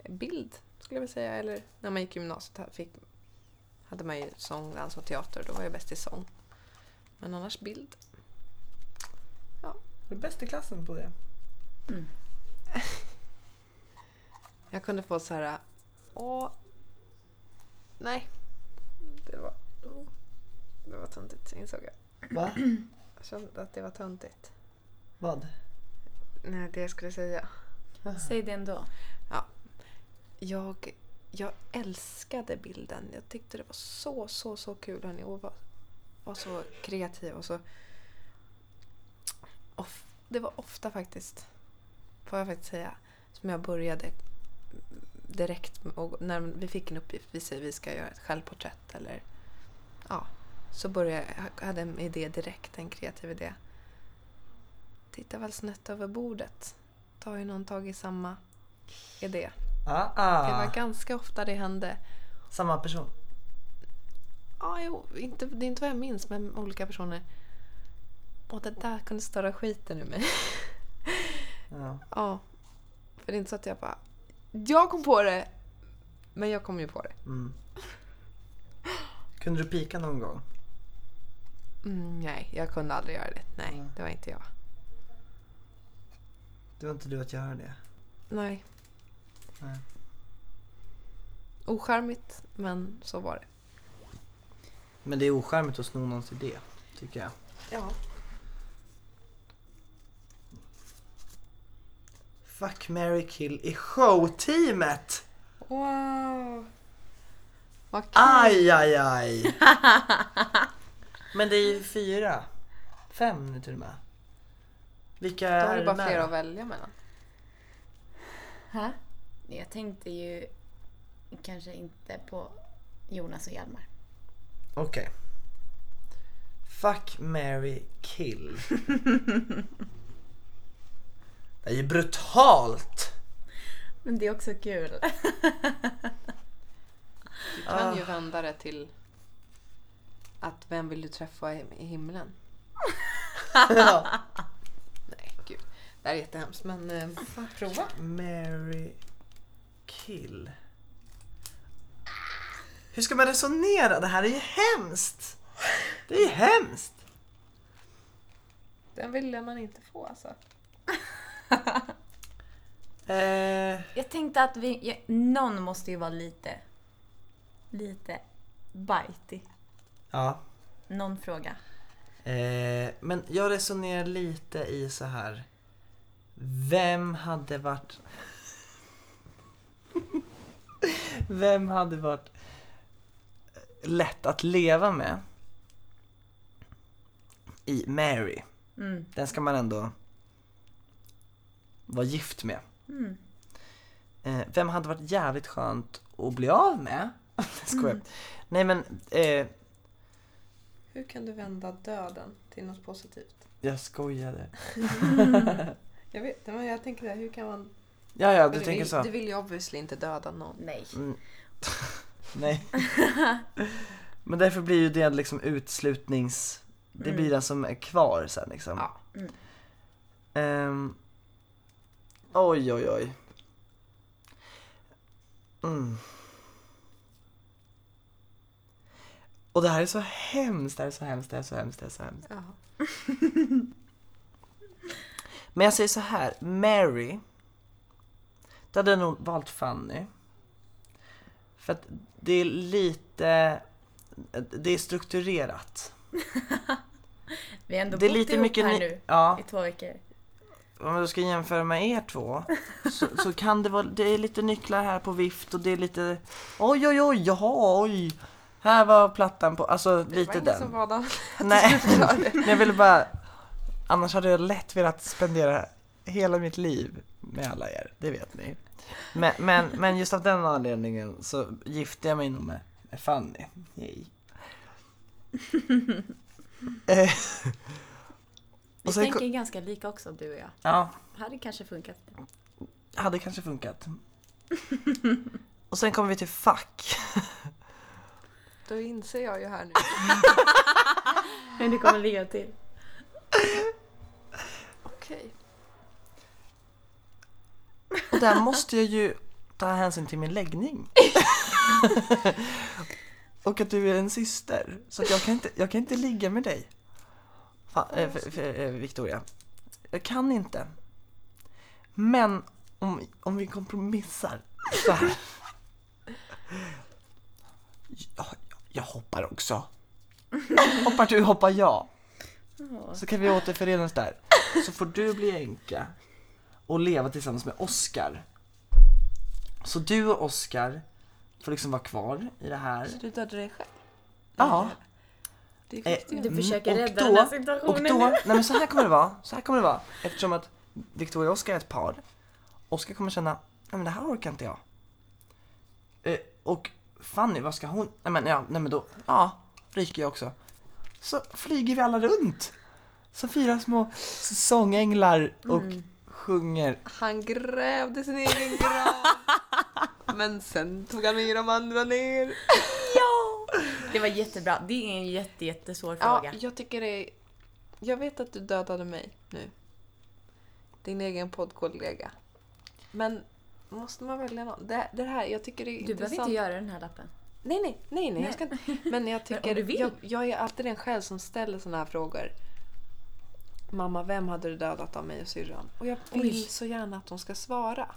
S4: bild skulle jag vilja säga. Eller när man gick i gymnasiet ha- fick, hade man ju sång, dans och teater. Då var jag bäst i sång. Men annars bild.
S3: Du är bäst i klassen på det.
S4: Jag kunde få så här... Åh... Nej. Det var... åh, Det var töntigt, insåg jag.
S3: Va?
S4: Jag kände att det var töntigt.
S3: Vad?
S4: nej, det jag skulle säga.
S1: Säg det ändå.
S4: Jag, jag älskade bilden. Jag tyckte det var så, så, så kul. Hörni. Och var, var så kreativ och så... Of, det var ofta faktiskt, får jag faktiskt säga, som jag började direkt med- och när vi fick en uppgift, vi säger vi ska göra ett självporträtt eller ja, så började jag, jag hade en idé direkt, en kreativ idé. Titta väl snett över bordet. Då har ju någon tagit samma idé.
S3: Ah,
S4: Det
S3: ah.
S4: var ganska ofta det hände.
S3: Samma person.
S4: Ja, jo, inte, det är inte vad jag minns, men olika personer. Och det där kunde störa skiten ur mig.
S3: Ja.
S4: ja. För det är inte så att jag bara... Jag kom på det! Men jag kom ju på det.
S3: Mm. Kunde du pika någon gång?
S4: Mm, nej, jag kunde aldrig göra det. Nej,
S3: Nej.
S4: det var inte jag.
S3: Det var inte du att göra det.
S4: Nej.
S3: Nej.
S4: Ocharmigt, men så var det.
S3: Men det är ocharmigt att sno någons idé, tycker jag.
S4: Ja.
S3: Fuck, marry, kill i showteamet!
S4: Wow! Vad kul!
S3: Aj, aj, aj! Men det är ju fyra. Fem nu till och med. Vilka
S4: Då
S3: är
S4: har du bara
S3: med?
S4: fler att välja mellan.
S1: Ha? Jag tänkte ju kanske inte på Jonas och Hjalmar.
S3: Okej. Fuck, Mary kill. det är ju brutalt!
S1: Men det är också kul.
S4: Du kan ju vända det till att vem vill du träffa i i himlen? Nej, gud. Det här är jättehemskt, men eh, prova.
S3: Mary kill. Hur ska man resonera? Det här är ju hemskt! Det är ju hemskt!
S4: Den ville man inte få alltså.
S3: Eh,
S1: Jag tänkte att vi, jag, någon måste ju vara lite, lite bajtig.
S3: ja.
S1: Någon fråga.
S3: Eh, men jag resonerar lite i så här. Vem hade varit... Vem hade varit lätt att leva med? I Mary.
S1: Mm.
S3: Den ska man ändå vara gift med.
S1: Mm.
S3: Eh, vem hade varit jävligt skönt att bli av med? Jag skojar. Nej men, eh,
S4: Hur kan du vända döden till något positivt?
S3: jag skojade.
S4: Jag vet men jag tänker där, hur kan man...
S3: Ja, ja,
S4: Men
S3: du tänker
S4: vill,
S3: så.
S4: Du vill ju obviously inte döda någon.
S1: Nej.
S3: Mm. Nej. Mm. Men därför blir ju det liksom utslutnings... Det blir den som är kvar sen liksom.
S4: Ja.
S1: Mm.
S3: Ehm, oj, oj, oj. Mm. Och det här är så hemskt, det här är så hemskt, det här är så hemskt, det här är så hemskt.
S4: Ja.
S3: Men jag säger så här, Mary. Då hade jag nog valt Fanny. För att det är lite... Det är strukturerat.
S1: Vi har ändå
S3: Det är
S1: bott
S3: lite
S1: ihop
S3: mycket
S1: här
S3: ny-
S1: nu
S3: Ja,
S1: i två veckor.
S3: om jag ska jämföra med er två så, så kan det vara... Det är lite nycklar här på vift och det är lite... Oj, oj, oj, jaha, oj. Här var plattan på... Alltså
S4: Det var
S3: lite
S4: ingen
S3: den.
S4: som var där.
S3: Nej, men jag ville bara... Annars hade jag lätt velat spendera hela mitt liv med alla er, det vet ni. Men, men, men just av den anledningen så gifte jag mig nog med, med Fanny. Yay. Eh,
S1: Vi
S3: och sen,
S1: tänker
S3: ko-
S1: ganska lika också du och jag.
S3: ja,
S1: Hade kanske funkat.
S3: hade kanske funkat. Och sen kommer vi till fuck.
S4: Då inser jag ju här nu.
S1: Men det kommer ligga till.
S4: Okej.
S3: Och där måste jag ju ta hänsyn till min läggning. och att du är en syster. Så att jag, kan inte, jag kan inte ligga med dig. Fa, eh, f, f, eh, Victoria. Jag kan inte. Men om, om vi kompromissar så här. Jag, jag hoppar också. Hoppar du hoppar jag.
S1: Ja.
S3: Så kan vi återförenas där. Så får du bli änka och leva tillsammans med Oscar. Så du och Oscar får liksom vara kvar i det här.
S4: Så du dödade dig själv?
S3: Ja.
S4: Det är
S3: Eh,
S4: sjukt ju.
S1: Du försöker
S3: och
S1: rädda
S3: då-
S1: den här
S3: Och
S1: situationen.
S3: då, nej men så här kommer det vara, så här kommer det vara. Eftersom att Victoria och Oscar är ett par. Oscar kommer känna, nej men det här orkar inte jag. Eh, och Fanny, vad ska hon, nej men ja, nej men då, ja, ryker jag också. Så flyger vi alla runt. Som fyra små sångänglar och
S1: Mm.
S3: sjunger.
S4: Han grävde sin egen grav. Men sen tog han med de andra ner.
S1: Det var jättebra. Det är en jätte, jättesvår
S4: Ja,
S1: fråga.
S4: jag tycker det är... Jag vet att du dödade mig nu. Din egen poddkollega. Men måste man välja någon? Det, det här, jag tycker det är
S1: Du behöver inte göra den här lappen.
S4: Nej, nej, nej, nej, jag ska inte. Men jag tycker...
S1: du vill.
S4: Jag, jag är alltid den själv som ställer såna här frågor. Mamma, vem hade du dödat av mig och syrran? Och jag vill
S1: Oj.
S4: så gärna att de ska svara.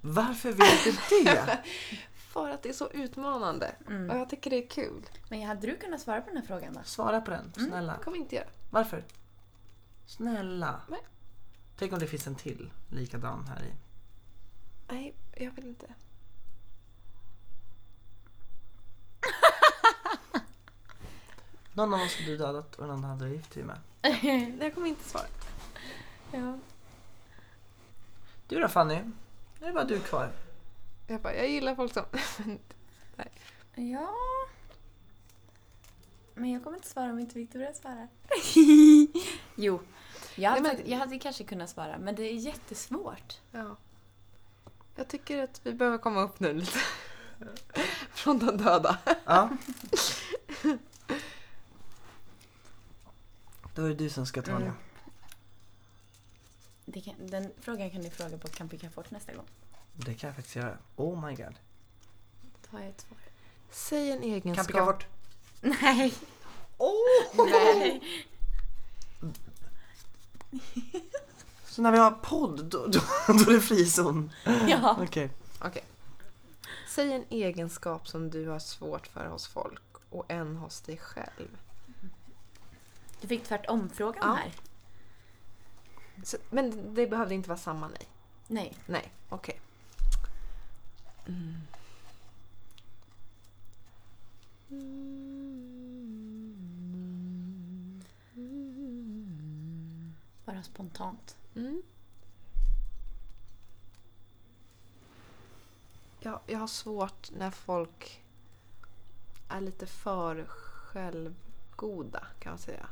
S3: Varför vet du det?
S4: För att det är så utmanande.
S1: Mm.
S4: Och jag tycker det är kul.
S1: Men hade du kunnat svara på den här frågan då?
S3: Svara på den, snälla.
S4: kommer inte göra.
S3: Varför? Snälla.
S4: Nej.
S3: Tänk om det finns en till likadan här i.
S4: Nej, jag vill inte.
S3: Någon av oss hade du dödat och någon hade du gift dig med.
S4: Nej, Jag kommer inte svara.
S1: Ja.
S3: Du då Fanny? Nu är bara du kvar.
S4: Jag bara, jag gillar folk som...
S1: ja. Men jag kommer inte svara om inte Victoria svarar. jo. Jag hade,
S4: Nej, men-
S1: fakt- jag hade kanske kunnat svara, men det är jättesvårt.
S4: ja. Jag tycker att vi behöver komma upp nu lite. Från de döda.
S3: Ja. Då är det du som ska
S1: Mm.
S3: ta det.
S1: Det kan, den frågan kan du fråga på Camping Comfort nästa gång.
S3: Det kan jag faktiskt göra. Oh my god.
S1: Då har jag ett svar.
S4: Säg en
S3: Kan
S4: egenskap.
S3: picka bort.
S1: Nej.
S3: Oh!
S1: Nej.
S3: Så när vi har podd då, då, då är det frizon.
S1: Ja.
S3: Okej.
S4: Okej. Säg en egenskap som du har svårt för hos folk och en hos dig själv.
S1: Du fick tvärtom-frågan
S4: Ja.
S1: här.
S4: Så, men det behövde inte vara samma nej.
S1: Nej.
S4: Nej, okej.
S1: Bara spontant.
S4: Mm. Jag, jag har svårt när folk är lite för självgoda kan man säga.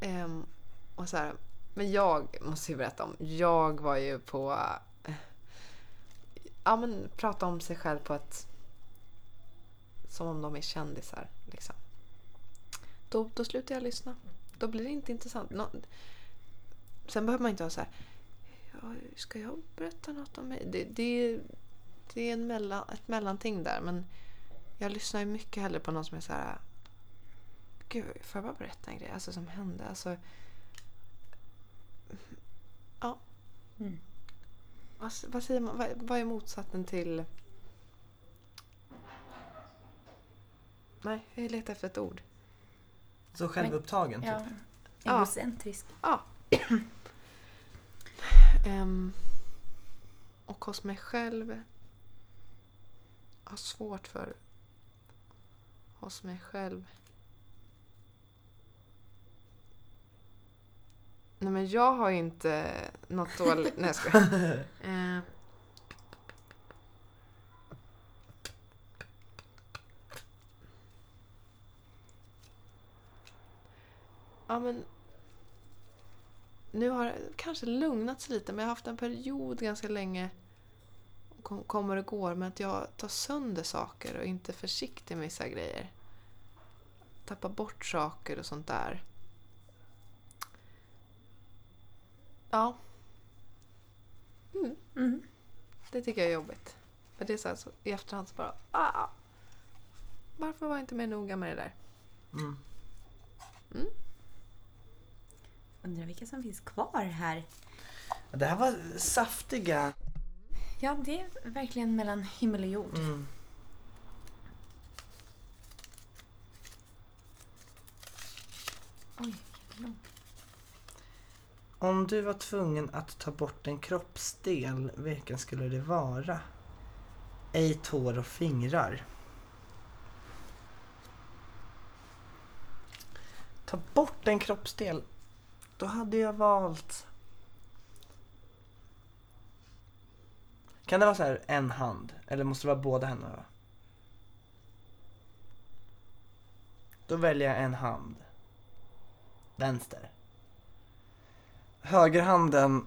S4: Ehm, och så här, men jag måste ju berätta om, jag var ju på... eh, ja men prata om sig själv på ett... Som om de är kändisar liksom. Då, då slutar jag lyssna. Då blir det inte intressant. Nå, sen behöver man inte ha så här... Ja, ska jag berätta något om mig? Det, det, det är en mellan, ett mellanting där. Men jag lyssnar ju mycket hellre på någon som är så här... Gud, får jag bara berätta en grej alltså, som hände? Alltså, ja.
S1: Mm.
S4: Vad, s- vad säger man? Vad, vad är motsatsen till... Nej, jag letar efter ett ord.
S3: Så självupptagen typ.
S1: Ja.
S4: Ja.
S1: Egocentrisk.
S4: Ja. Ehm, och hos mig själv har svårt för hos mig själv. Nej men jag har ju inte något dåligt. Nej jag skojar. Ehm. Ja men nu har det kanske lugnat sig lite, men jag har haft en period ganska länge, och kom- kommer och går, men att jag tar sönder saker och inte är försiktig med vissa grejer. Tappar bort saker och sånt där. Ja. Mm.
S1: Mm.
S4: Det tycker jag är jobbigt. För det är så här, så, i efterhand så bara... Ah, varför var jag inte mer noga med det där?
S3: Mm.
S1: Undrar vilka som finns kvar här.
S3: Det här var saftiga.
S1: Ja, det är verkligen mellan himmel och jord.
S3: Mm.
S1: Oj, vilken lång.
S3: Om du var tvungen att ta bort en kroppsdel, vilken skulle det vara? Ej tår och fingrar. Ta bort en kroppsdel. Då hade jag valt... Kan det vara så här en hand? Eller måste det vara båda händerna? Då väljer jag en hand. Vänster. Högerhanden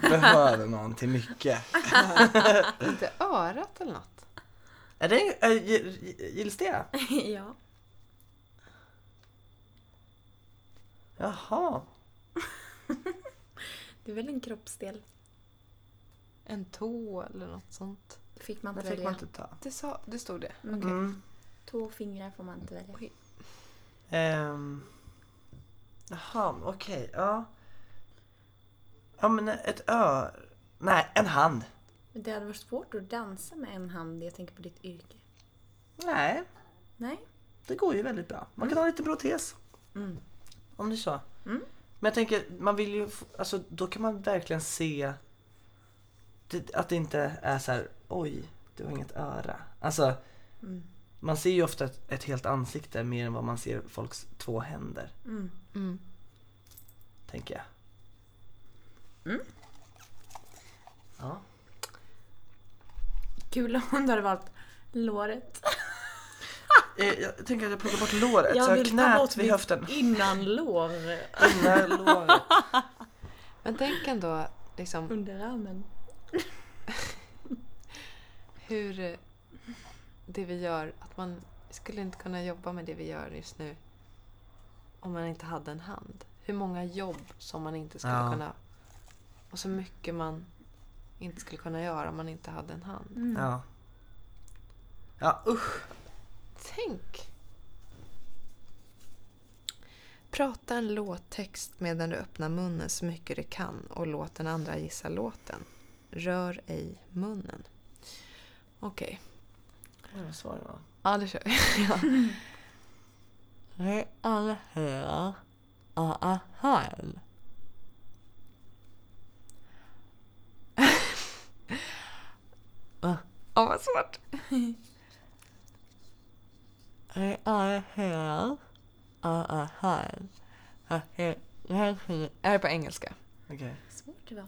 S3: behöver man till mycket.
S4: Inte örat eller något.
S3: Är det, äh, gi- gi- gills det?
S1: ja.
S3: Jaha.
S1: Det är väl en kroppsdel?
S4: En tå eller något sånt.
S1: Det fick man
S3: Det
S1: inte
S3: fick man
S1: välja.
S3: inte ta.
S4: Det, sa, det stod det.
S1: Mm.
S3: Mm.
S1: Två fingrar får man inte välja.
S4: Oj.
S3: Ehm. Jaha, okej. ja. Ja men ett ö... Nej, en hand.
S1: Men det hade varit svårt att dansa med en hand. Jag tänker på ditt yrke.
S3: Nej,
S1: Nej?
S3: det går ju väldigt bra. Man kan ha lite protes.
S1: Mm.
S3: Om det är så.
S1: Mm.
S3: Men jag tänker, man vill ju... f- Alltså då kan man verkligen se det, att det inte är så här, oj, du har inget öra. Alltså,
S1: Mm.
S3: man ser ju ofta ett, ett helt ansikte mer än vad man ser folks två händer,
S1: Mm.
S4: Mm.
S3: tänker jag.
S1: Mm.
S3: Ja.
S1: Kul om du hade valt låret.
S3: Eh, Jag tänker att jag plockar bort låret,
S1: Jag
S3: så jag
S1: vill ta bort
S3: knät vid
S1: mitt-
S3: höften.
S1: Innan lår.
S3: Innan låret.
S4: Men tänk ändå liksom
S1: Underarmen.
S4: hur eh, det vi gör, att man skulle inte kunna jobba med det vi gör just nu om man inte hade en hand. Hur många jobb som man inte skulle
S3: Ja.
S4: kunna... Och så mycket man inte skulle kunna göra om man inte hade en hand.
S1: Mm.
S3: Ja. Ja, usch.
S4: Tänk! Prata en låttext medan du öppnar munnen så mycket du kan och låt den andra gissa låten. Rör ej munnen. Okej.
S3: Vad var svaret då?
S4: Ja, det kör vi. ja. Alla här. Alla här. Ja, vad svårt. Alla här. Alla här. Det här är på engelska.
S3: Okej.
S1: Svårt det var.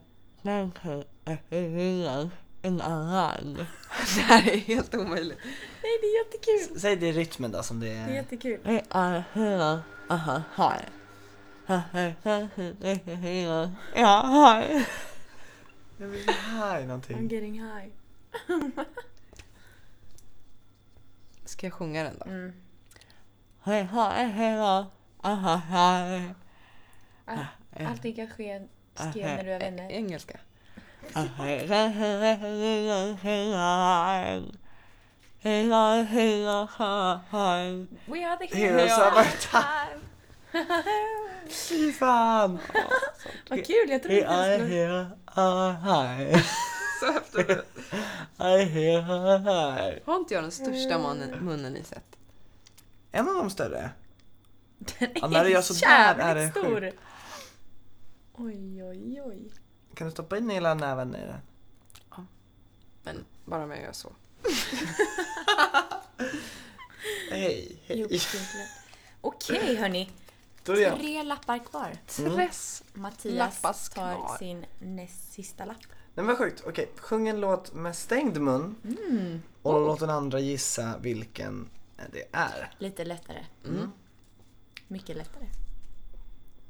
S4: Det här är helt omöjligt.
S1: Nej, det är jättekul.
S3: Säg det i rytmen då som det
S1: Det är
S3: är.
S1: jättekul.
S3: Jag vill här
S1: I'm
S3: någonting.
S1: getting high.
S4: Ska jag sjunga den då?
S1: Mm. Allting kan ske, ske när du har vänner.
S4: Engelska.
S1: We are the
S3: Heroes
S1: heroes
S3: of our
S1: of time.
S3: Fy fan!
S1: Vad kul, jag trodde
S3: Hey,
S1: inte
S3: I
S1: jag skulle...
S3: hear a high.
S4: Så efter det.
S3: I hear a high.
S4: Har inte jag den största munnen, munnen ni sett?
S3: En av de större. Ja, när du gör sådär
S1: Jävligt
S3: är den
S1: stor.
S3: sjuk.
S1: Oj, oj, oj.
S3: Kan du stoppa in hela näven i den?
S4: Men bara om jag gör så.
S3: Hej, hej.
S1: Jo, verkligen. Okej hörni,
S3: Då är jag.
S1: tre lappar kvar.
S4: Stress.
S1: Mattias
S4: Lappas
S1: tar
S4: kvar.
S1: sin näst sista lapp.
S3: Nej men sjukt, okej. Sjung en låt med stängd mun.
S1: Mm.
S3: Och låt den andra gissa vilken det är.
S1: Lite lättare. Mm. Mycket lättare.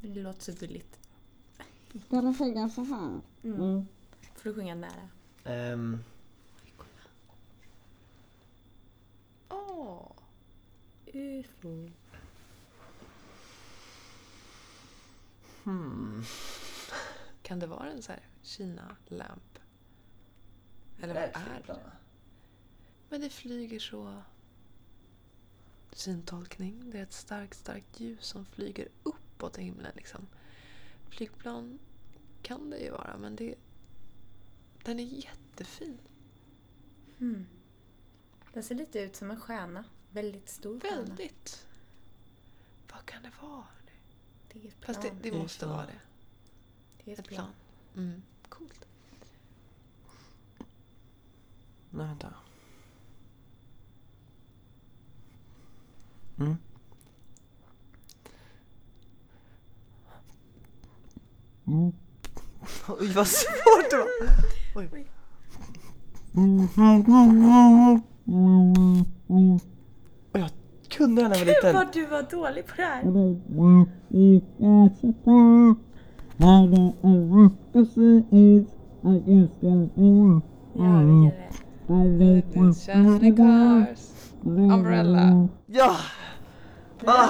S1: Men Det låter så billigt. Mm. Ska du sjunga så här? Mm. Får du sjunga nära.
S3: Ehm,
S4: Åh.
S1: UFO.
S4: Kan det vara en så här Kina lamp? Eller vad är det? Men det flyger så... Syntolkning. Det är ett starkt, starkt ljus som flyger uppåt i himlen liksom. Flygplan kan det ju vara, men det... Den är jättefin.
S1: Mm. Den ser lite ut som en stjärna. Väldigt stor stjärna.
S4: Väldigt. Vad kan det vara? nu?
S1: Det är ett plan.
S4: Fast det, det
S3: Det är
S4: måste
S3: plan.
S4: vara det.
S1: Det är
S4: Ett plan. Mm. Coolt.
S3: Nej, vänta. Mm.
S5: Oj, vad svårt det var.
S3: Och jag kunde den när jag var
S1: Gud
S3: liten.
S1: vad du var dålig på det här. Ja, vilken rätt.
S4: Johnny Cars. Umbrella.
S3: Ja!
S4: Ja,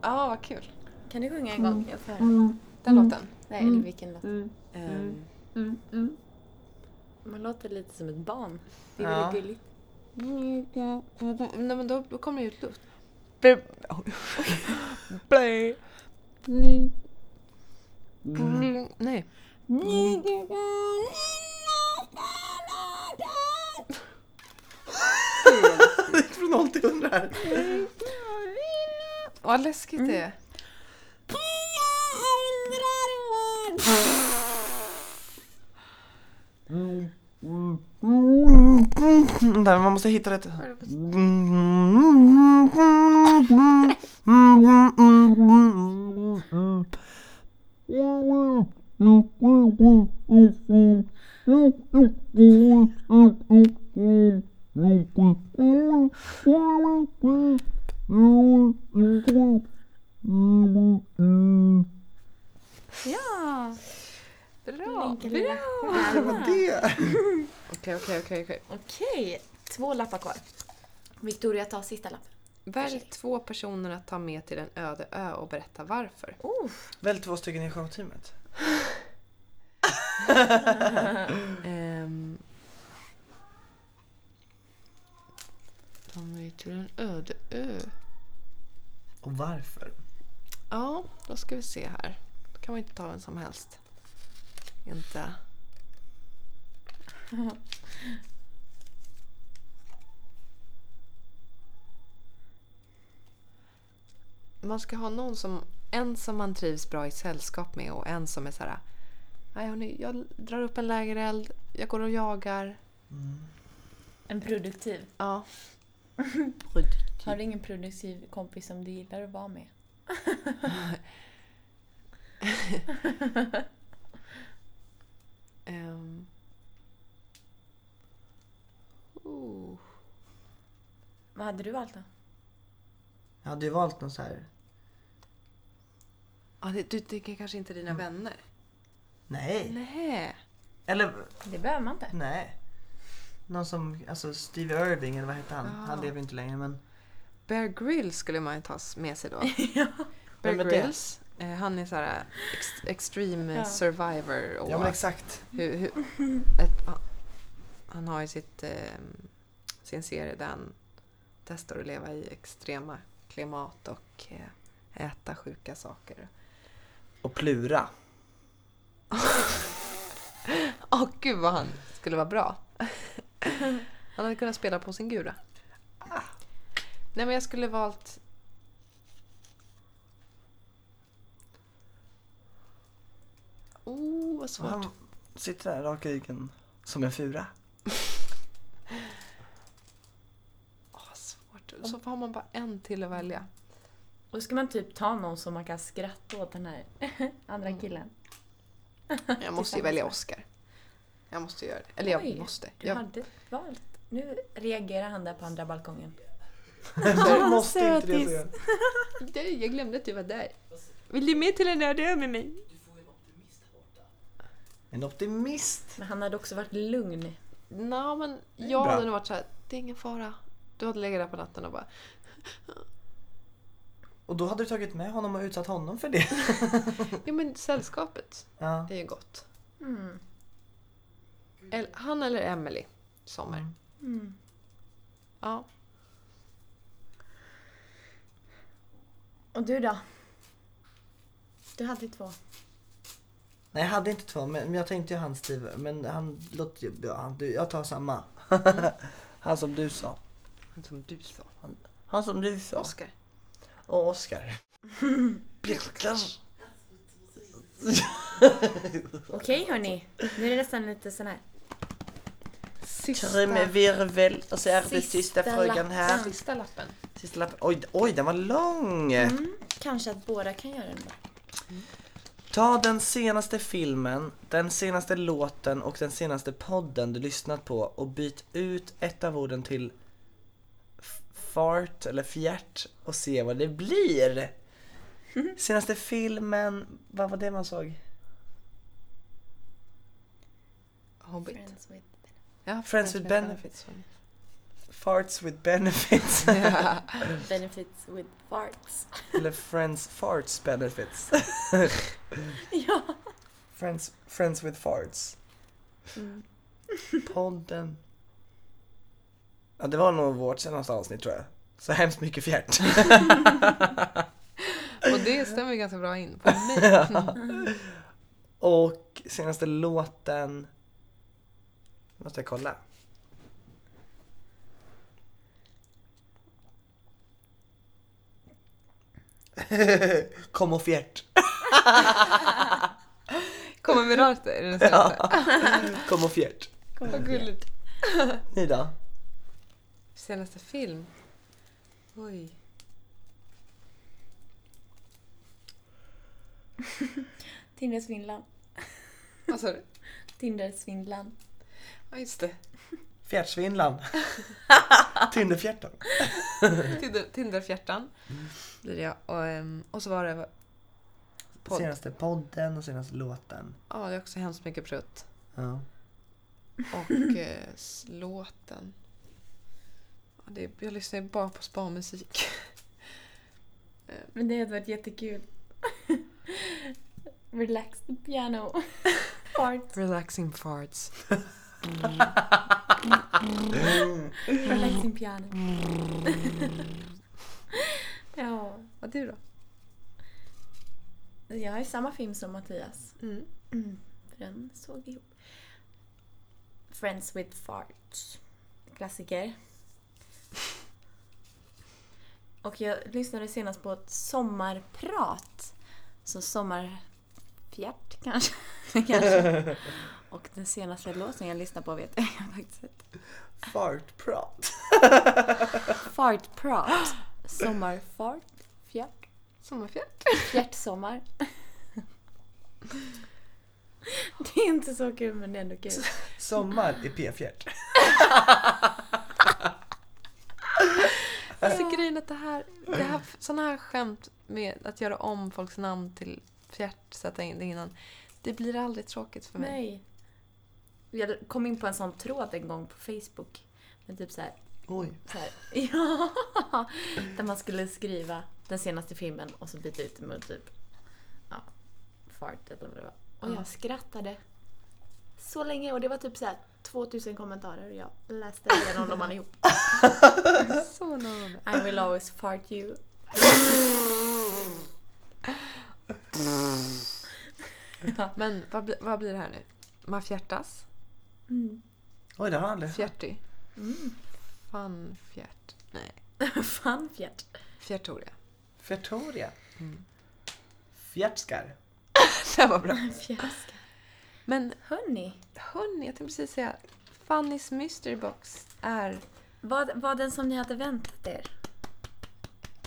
S4: ah, vad kul.
S1: Kan du sjunga en gång? Jag får höra.
S4: Den låten.
S2: Nej, eller vilken låt?
S1: Ehm, Man låter lite som ett barn. Det är
S3: Ja.
S1: väldigt gulligt.
S4: Nej, men då, då kommer det ut luft.
S3: Play!
S4: Nej.
S3: Från 0 till 100 här.
S4: Vad läskigt det är.
S3: Vänta, men man måste hitta rätt.
S2: Ja!
S4: Bra.
S1: lilla.
S4: Bra. Okej, okej, okej. okej.
S1: Okej, två lappar kvar. Victoria tar sista lappen.
S4: Välj två personer att ta med till en öde ö och berätta varför.
S1: Oh,
S3: Välj två stycken i showteamet.
S4: Ehm. Ta med till en öde ö.
S3: Och varför?
S4: Ja, då ska vi se här. Då kan man inte ta vem som helst. Inte. Man ska ha någon som, en som man trivs bra i sällskap med och en som är så här. Nej hörni, jag drar upp en lägereld, jag går och jagar.
S3: Mm.
S1: en produktiv.
S4: Ja,
S1: Har du ingen produktiv kompis som du gillar att vara med?
S4: Ehm. Oh.
S1: Vad hade du valt då?
S3: Jag hade ju valt någon så här.
S4: Ja, det- du tänker kanske inte dina vänner?
S3: Mm. Nej.
S4: Nej.
S3: Eller
S1: Det behöver man inte.
S3: nej. Någon som, alltså Steve Irving eller vad hette han?
S4: Ah.
S3: Han lever ju inte längre men.
S4: Bear Grylls skulle man ju ta s- med sig då. Bear
S3: Vem är det?
S4: Grylls. eh, Han är så här ex- extreme eh,
S1: Ja.
S4: survivor. Och
S3: Ja men exakt.
S4: hur, hur, ett, han- han har ju sitt, eh, sin serie där han testar att leva i extrema klimat och eh, äta sjuka saker.
S6: Och Plura.
S4: Åh gud vad han skulle vara bra. Han hade kunnat spela på sin gura. Ah. Nej men jag skulle valt... Oh, vad
S3: Och
S4: svårt.
S3: han sitter där rak i ryggen. Som en fura.
S4: Åh, vad svårt. Så har man bara en till att välja.
S1: Då ska man typ ta någon som man kan skratta åt den här
S2: Mm.
S1: andra killen.
S4: Jag måste ju välja Oscar. Jag måste göra det. Eller jag
S1: Oj,
S4: måste.
S1: Du
S4: Jag,
S1: hade valt. Nu reagerar han där på andra balkongen.
S3: Du måste inte det
S1: sötis.
S3: säga.
S4: Nej, jag glömde att du var där. Vill du med till en öde ö med mig?
S3: En optimist.
S1: Men han hade också varit lugn.
S4: Nej, men jag
S3: Bra.
S4: hade nog varit så här. Det är ingen fara. Du hade legat där på natten och bara
S3: Och då hade du tagit med honom och utsatt honom för det.
S4: Ja men sällskapet
S3: Ja.
S4: är ju gott.
S1: Mm.
S4: El- han eller Emily Sommer. Ja.
S1: Och du då? Du hade två.
S3: Nej jag hade inte två men men jag tänkte ju han Steve. Men han låter ju, ja, han, du, jag tar samma. han som du sa.
S4: Som du sa.
S3: Han som du sa.
S4: Oscar.
S3: Och Oscar. Birkar.
S2: Okej hörni, nu är det nästan lite sån här.
S3: Krym, virvel och så är det sista frågan här.
S4: Sista lappen.
S3: Sista lappen. Oj, oj, den var lång!
S2: Kanske att båda kan göra den.
S3: Ta den senaste filmen, den senaste låten och den senaste podden du lyssnat på och byt ut ett av orden till f- fart eller fjärt och se vad det blir. Senaste filmen, vad var det man såg?
S4: Hobbit.
S2: Friends with-
S4: Ja,
S3: Friends with benefits. Farts with benefits.
S2: Benefits with farts.
S3: eller Friends farts benefits.
S2: ja.
S3: Friends, friends with farts. Podden. Ja, det var nog vårt senaste avsnitt tror jag. Så hemskt mycket fjärt.
S4: Och det stämmer ju ganska bra in på mig.
S3: Och senaste låten... Måste jag kolla. Kom och fjärt.
S4: Kommer Mirarte är den senaste.
S3: Kom och fjärt.
S4: Vad gulligt.
S3: Ni då?
S4: Senaste film. Oj.
S2: Tindersvindlan.
S4: Vad sa du?
S2: Tindersvindlan.
S4: Ja, just det.
S3: Fjärtsvindlan. Tinderfjärten.
S4: Tinder- Tinderfjärtan.
S3: Mm.
S4: Blir jag. Och, ehm, och så var det... Podd. Ja,
S3: Senaste podden och senaste låten.
S4: det är också hemskt mycket prutt.
S3: Ja.
S4: Och eh, s- låten. Ja, det, jag lyssnar ju bara på spa-musik.
S2: Men det hade varit jättekul. Relax the piano. Fart.
S4: Relaxing farts.
S2: Relaxing piano. ja.
S4: Vad du då?
S2: Jag har ju samma film som Mattias.
S4: Mm.
S2: Mm, för den såg vi ihop. Friends with farts. Klassiker. Och jag lyssnade senast på ett sommarprat. Så sommarfjärt kanske. kanske. Och den senaste låten jag lyssnade på vet jag faktiskt inte.
S3: Fartprat.
S2: Fartprat. Sommarfart. Fjärt.
S4: Sommarfjärt.
S2: Fjärtsommar. Det är inte så kul men det är ändå kul.
S3: Sommar i P-fjärt.
S4: Alltså grejen att det här, det här, sådana här skämt med att göra om folks namn till fjärt, sätta in det innan. Det blir aldrig tråkigt för mig.
S2: Nej. Jag kom in på en sån tråd en gång på Facebook. Men typ så här,
S3: Oj.
S2: så här ja, Där man skulle skriva den senaste filmen och så byta ut det mot typ ja, fart eller vad det var. Och jag skrattade så länge och det var typ så här 2000 kommentarer och jag läste igenom dem allihop.
S4: Så någon.
S2: I will always fart you.
S4: Men vad, bli- vad blir det här nu? Man fjärtas?
S2: Mm.
S3: Oj, det har jag aldrig
S4: Fjärty? Mm. Fan fjärt. Nej.
S2: Fan fjärt.
S4: Fjärtoria.
S3: Fjärtoria. Mm. Fjärtskar.
S4: Det var bra.
S2: Fjärtskar.
S4: Men
S2: Hörni,
S4: hörni, jag tänkte precis säga. Fannys mystery box är...
S2: vad var den som ni hade väntat er?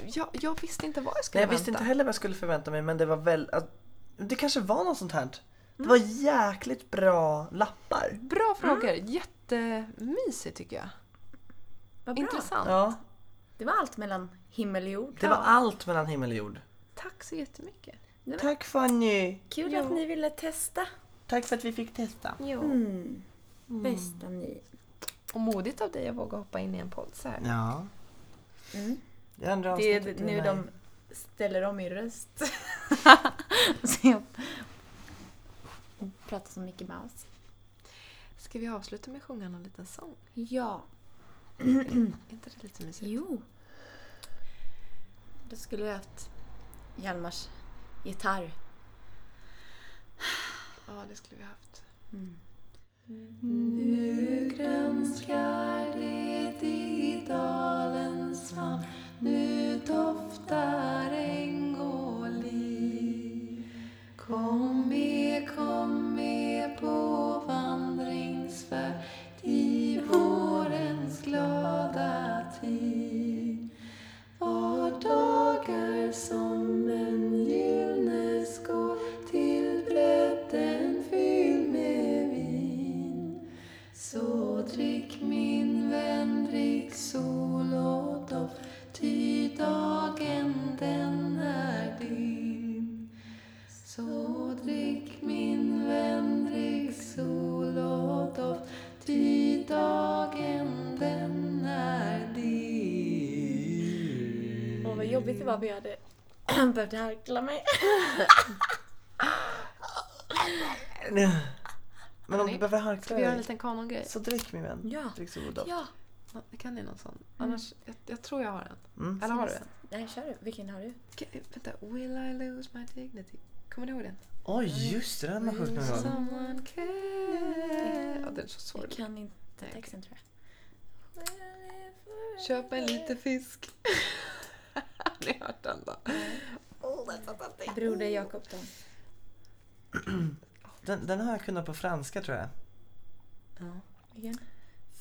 S4: Jag, jag visste inte vad jag skulle
S3: Nej, jag
S4: vänta.
S3: visste inte heller vad jag skulle förvänta mig men det var väl... att- Det kanske var något sånt här. Det var jäkligt bra lappar.
S4: Bra frågor. Jättemysigt tycker jag.
S2: Vad bra.
S4: Intressant.
S3: Ja,
S2: Det var allt mellan himmel och jord.
S3: det var allt mellan himmel och jord.
S4: Tack så jättemycket.
S3: Tack Fanny!
S2: Kul att ni Mm. ville testa.
S3: Tack för att vi fick testa.
S4: Jo.
S2: Bästa ni.
S4: Och modigt av dig att våga hoppa in i en podd så här.
S3: Ja. Det andra
S2: Det
S3: avsnittet
S2: är
S3: blir
S2: nu
S3: mig.
S2: de ställer om min röst. så jag pratar som Mickey Mouse.
S4: Ska vi avsluta med att sjunga någon liten sång?
S2: Ja,
S4: Är inte det lite mysigt?
S2: jo. Då skulle jag haft Hjalmars gitarr.
S4: Ja, det skulle vi haft. Nu grönskar det i dalens famn. Nu doftar äng och
S1: vad jobbigt det var för jag hade behövt harkla mig.
S3: Men om du
S4: Hörni,
S3: behöver harkla
S4: Ska vi göra en
S3: dig,
S4: liten kanongrej?
S3: så drick min vän.
S1: Ja.
S3: Drick så god doft.
S1: Ja.
S4: Ja, Kan ni någon sån? Annars, jag, jag tror jag har en.
S3: Mm.
S4: Eller har du en?
S1: Nej, kör du. Vilken har du?
S4: Ska- Vänta, Will I lose my dignity? Kommer ni ihåg den?
S3: Oj, just det. Den har man sjungit någon gång.
S4: Someone care. Ja, den är så
S1: Jag
S4: sorglig.
S1: kan inte
S4: Nej,
S1: texten tror jag.
S4: Köp en liten fisk. Har ni hört den då?
S1: Broder Jakob då.
S3: Den, den har jag kunnat på franska tror jag.
S1: Vilken?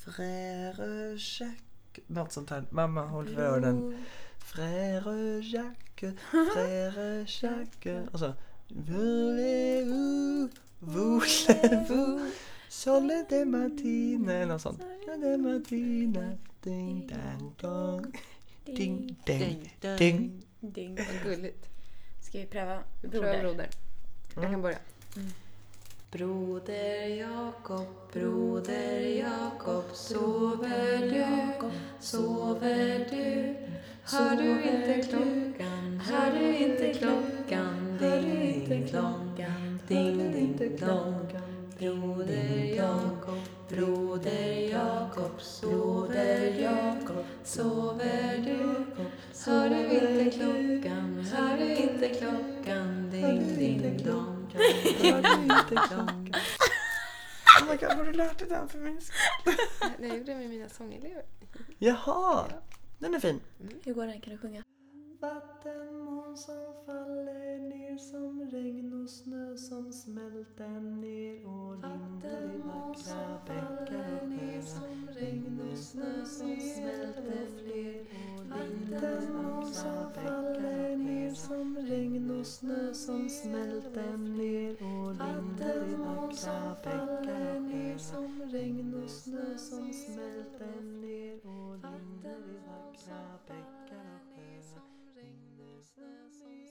S3: Frère Jacques. Något sånt här. Mamma, håll för öronen. Frère Jacques, frère Jacques. Och så... Voulez-vous, voulez-vous, sole de matine. Eller något sånt. Sole de matine, ding dang dong. Ding ding ding.
S1: Ding.
S4: Vad gulligt.
S1: Ska vi pröva
S4: Pröva
S1: broder?
S4: broder. Jag kan börja.
S7: Broder Jakob, broder Jakob, sover du, sover du? Hör du inte klockan, hör du inte klockan, hör du inte klockan, ding ding dong. Broder Jakob, broder Jakob, sover Jakob, sover du? Hör du inte klockan, hör du inte klockan, ding ding dong. Hör du inte klockan?
S3: Oh my god, har du lärt dig den för min skull?
S4: Nej, Jag gjorde det med mina sångelever.
S3: Jaha, den är fin.
S1: Hur går den? Kan du sjunga?
S3: Vattenmoln som faller ner som regn och snö som smälter ner och rinner i vackra bäckar och sjöar.
S7: Regn och snö som smälter fler och
S3: Vattenmoln som faller ner som regn och snö som smälter ner och rinner i vackra bäckar och sjöar.
S7: som regn och snö som smälter ner och rinner i vackra bäckar och sjöar.